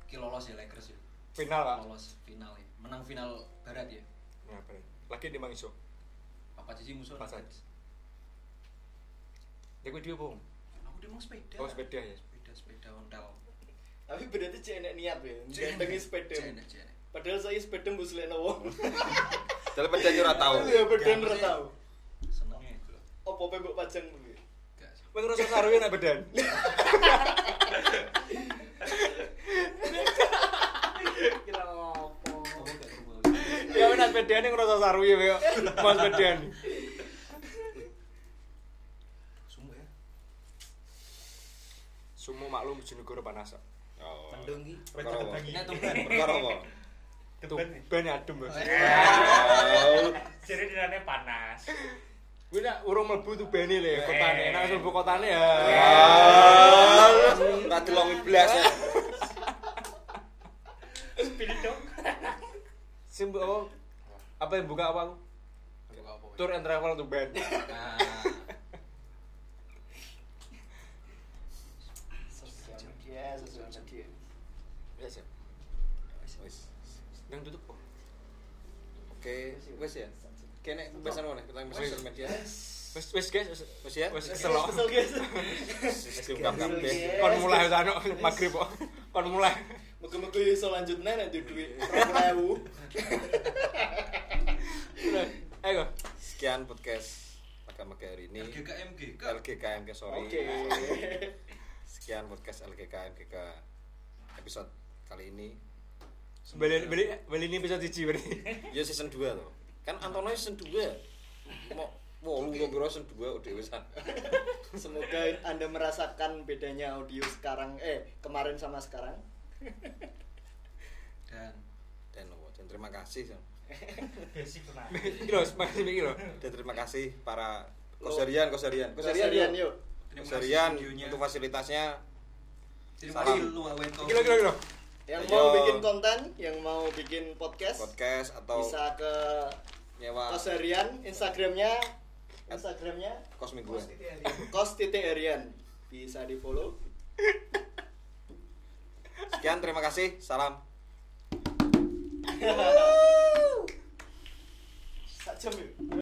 S3: Ki lolos ya Lakers ya.
S1: Final, Pak.
S3: Lolos final ya. Menang final barat ya.
S1: Nah, bener. Lagi di Mang Iso.
S3: Apa sih musuh?
S1: Pas aja. Ya gue dia, Bung.
S3: Aku dia mau sepeda.
S1: Oh, sepeda ya.
S3: Sepeda sepeda ontel.
S5: Tapi berarti cek enek niat ya. Gantengi sepeda.
S3: Jene jene.
S5: Padahal saya sepeda mbok selekno wong.
S4: Dalam perjanjian ora tahu.
S5: Ya bedan ora tau.
S3: Senengnya itu. loh.
S5: Apa pe mbok pajang kuwi?
S3: Enggak sih.
S1: Wong ngerasa sarungnya nak bedan.
S7: Kira opo?
S3: Oh, enggak rumah.
S1: Ya wis nak bedan yang ngerasa sarungnya kaya Mas bedan.
S3: Sumpah ya.
S1: Sumo maklum jenegoro panas.
S4: Oh.
S16: mendung ki
S4: Perkara apa?
S3: Nek tuh
S4: Perkara apa?
S1: Tuh, ben adem, Bos.
S4: Oh.
S7: Jadi dinane panas.
S1: Gue nak urung mlebu tuh bene le kotane. Nak mlebu kotane ya.
S4: Ora delong iblas. ya.
S7: Pilih dong.
S1: Sing bu- apa? Apa yang buka apa?
S3: Buka apa, weh?
S1: Tour and travel tuh ben.
S3: Nah.
S5: Sosial media, sosial media.
S1: Ya sih.
S4: Wis.
S1: Yang tutup kok.
S4: Oke, wis ya. Kene pesan mana? Tentang pesan sosial media.
S1: Wes wes guys, wes
S4: Wis ya.
S1: wes selok.
S5: Kesel guys.
S4: Wis diungkap kabeh.
S1: Kon mulai wis anu magrib kok. Kon mulai.
S5: Moga-moga iso lanjutne nek duwe duit 20.000.
S1: Ayo.
S4: Sekian podcast pada pagi hari ini.
S3: GKMG.
S4: LGKMK sorry.
S5: Oke.
S4: Sekian podcast LGKMK episode kali ini.
S1: Beli beli beli ini bisa cuci berarti.
S4: Ya season 2 loh. Kan Antono season 2. Mau wolu kok kira season 2 udah wisan.
S5: Semoga Anda merasakan bedanya audio sekarang eh kemarin sama sekarang.
S3: Dan
S4: Dan, apa, dan terima kasih. Sam.
S7: Basic lah.
S1: Iki lho, masih iki lho.
S4: Dan terima kasih para Kosarian, Kosarian.
S5: Keserian yuk.
S3: terima kasih
S4: Kosarian
S3: videonya.
S4: untuk fasilitasnya.
S3: Terima
S4: Salam.
S3: kasih lu Weto.
S1: Iki lho, iki lho, iki lho.
S5: Yang
S4: Ayo.
S5: mau bikin konten, yang mau bikin podcast,
S4: podcast atau Ah.
S5: bisa ke
S4: nyewa
S5: Koserian Instagramnya Instagramnya
S4: kos mingguan.
S5: kos titik Erian bisa di follow
S4: Sekian terima kasih. Salam.
S5: sak jam yuk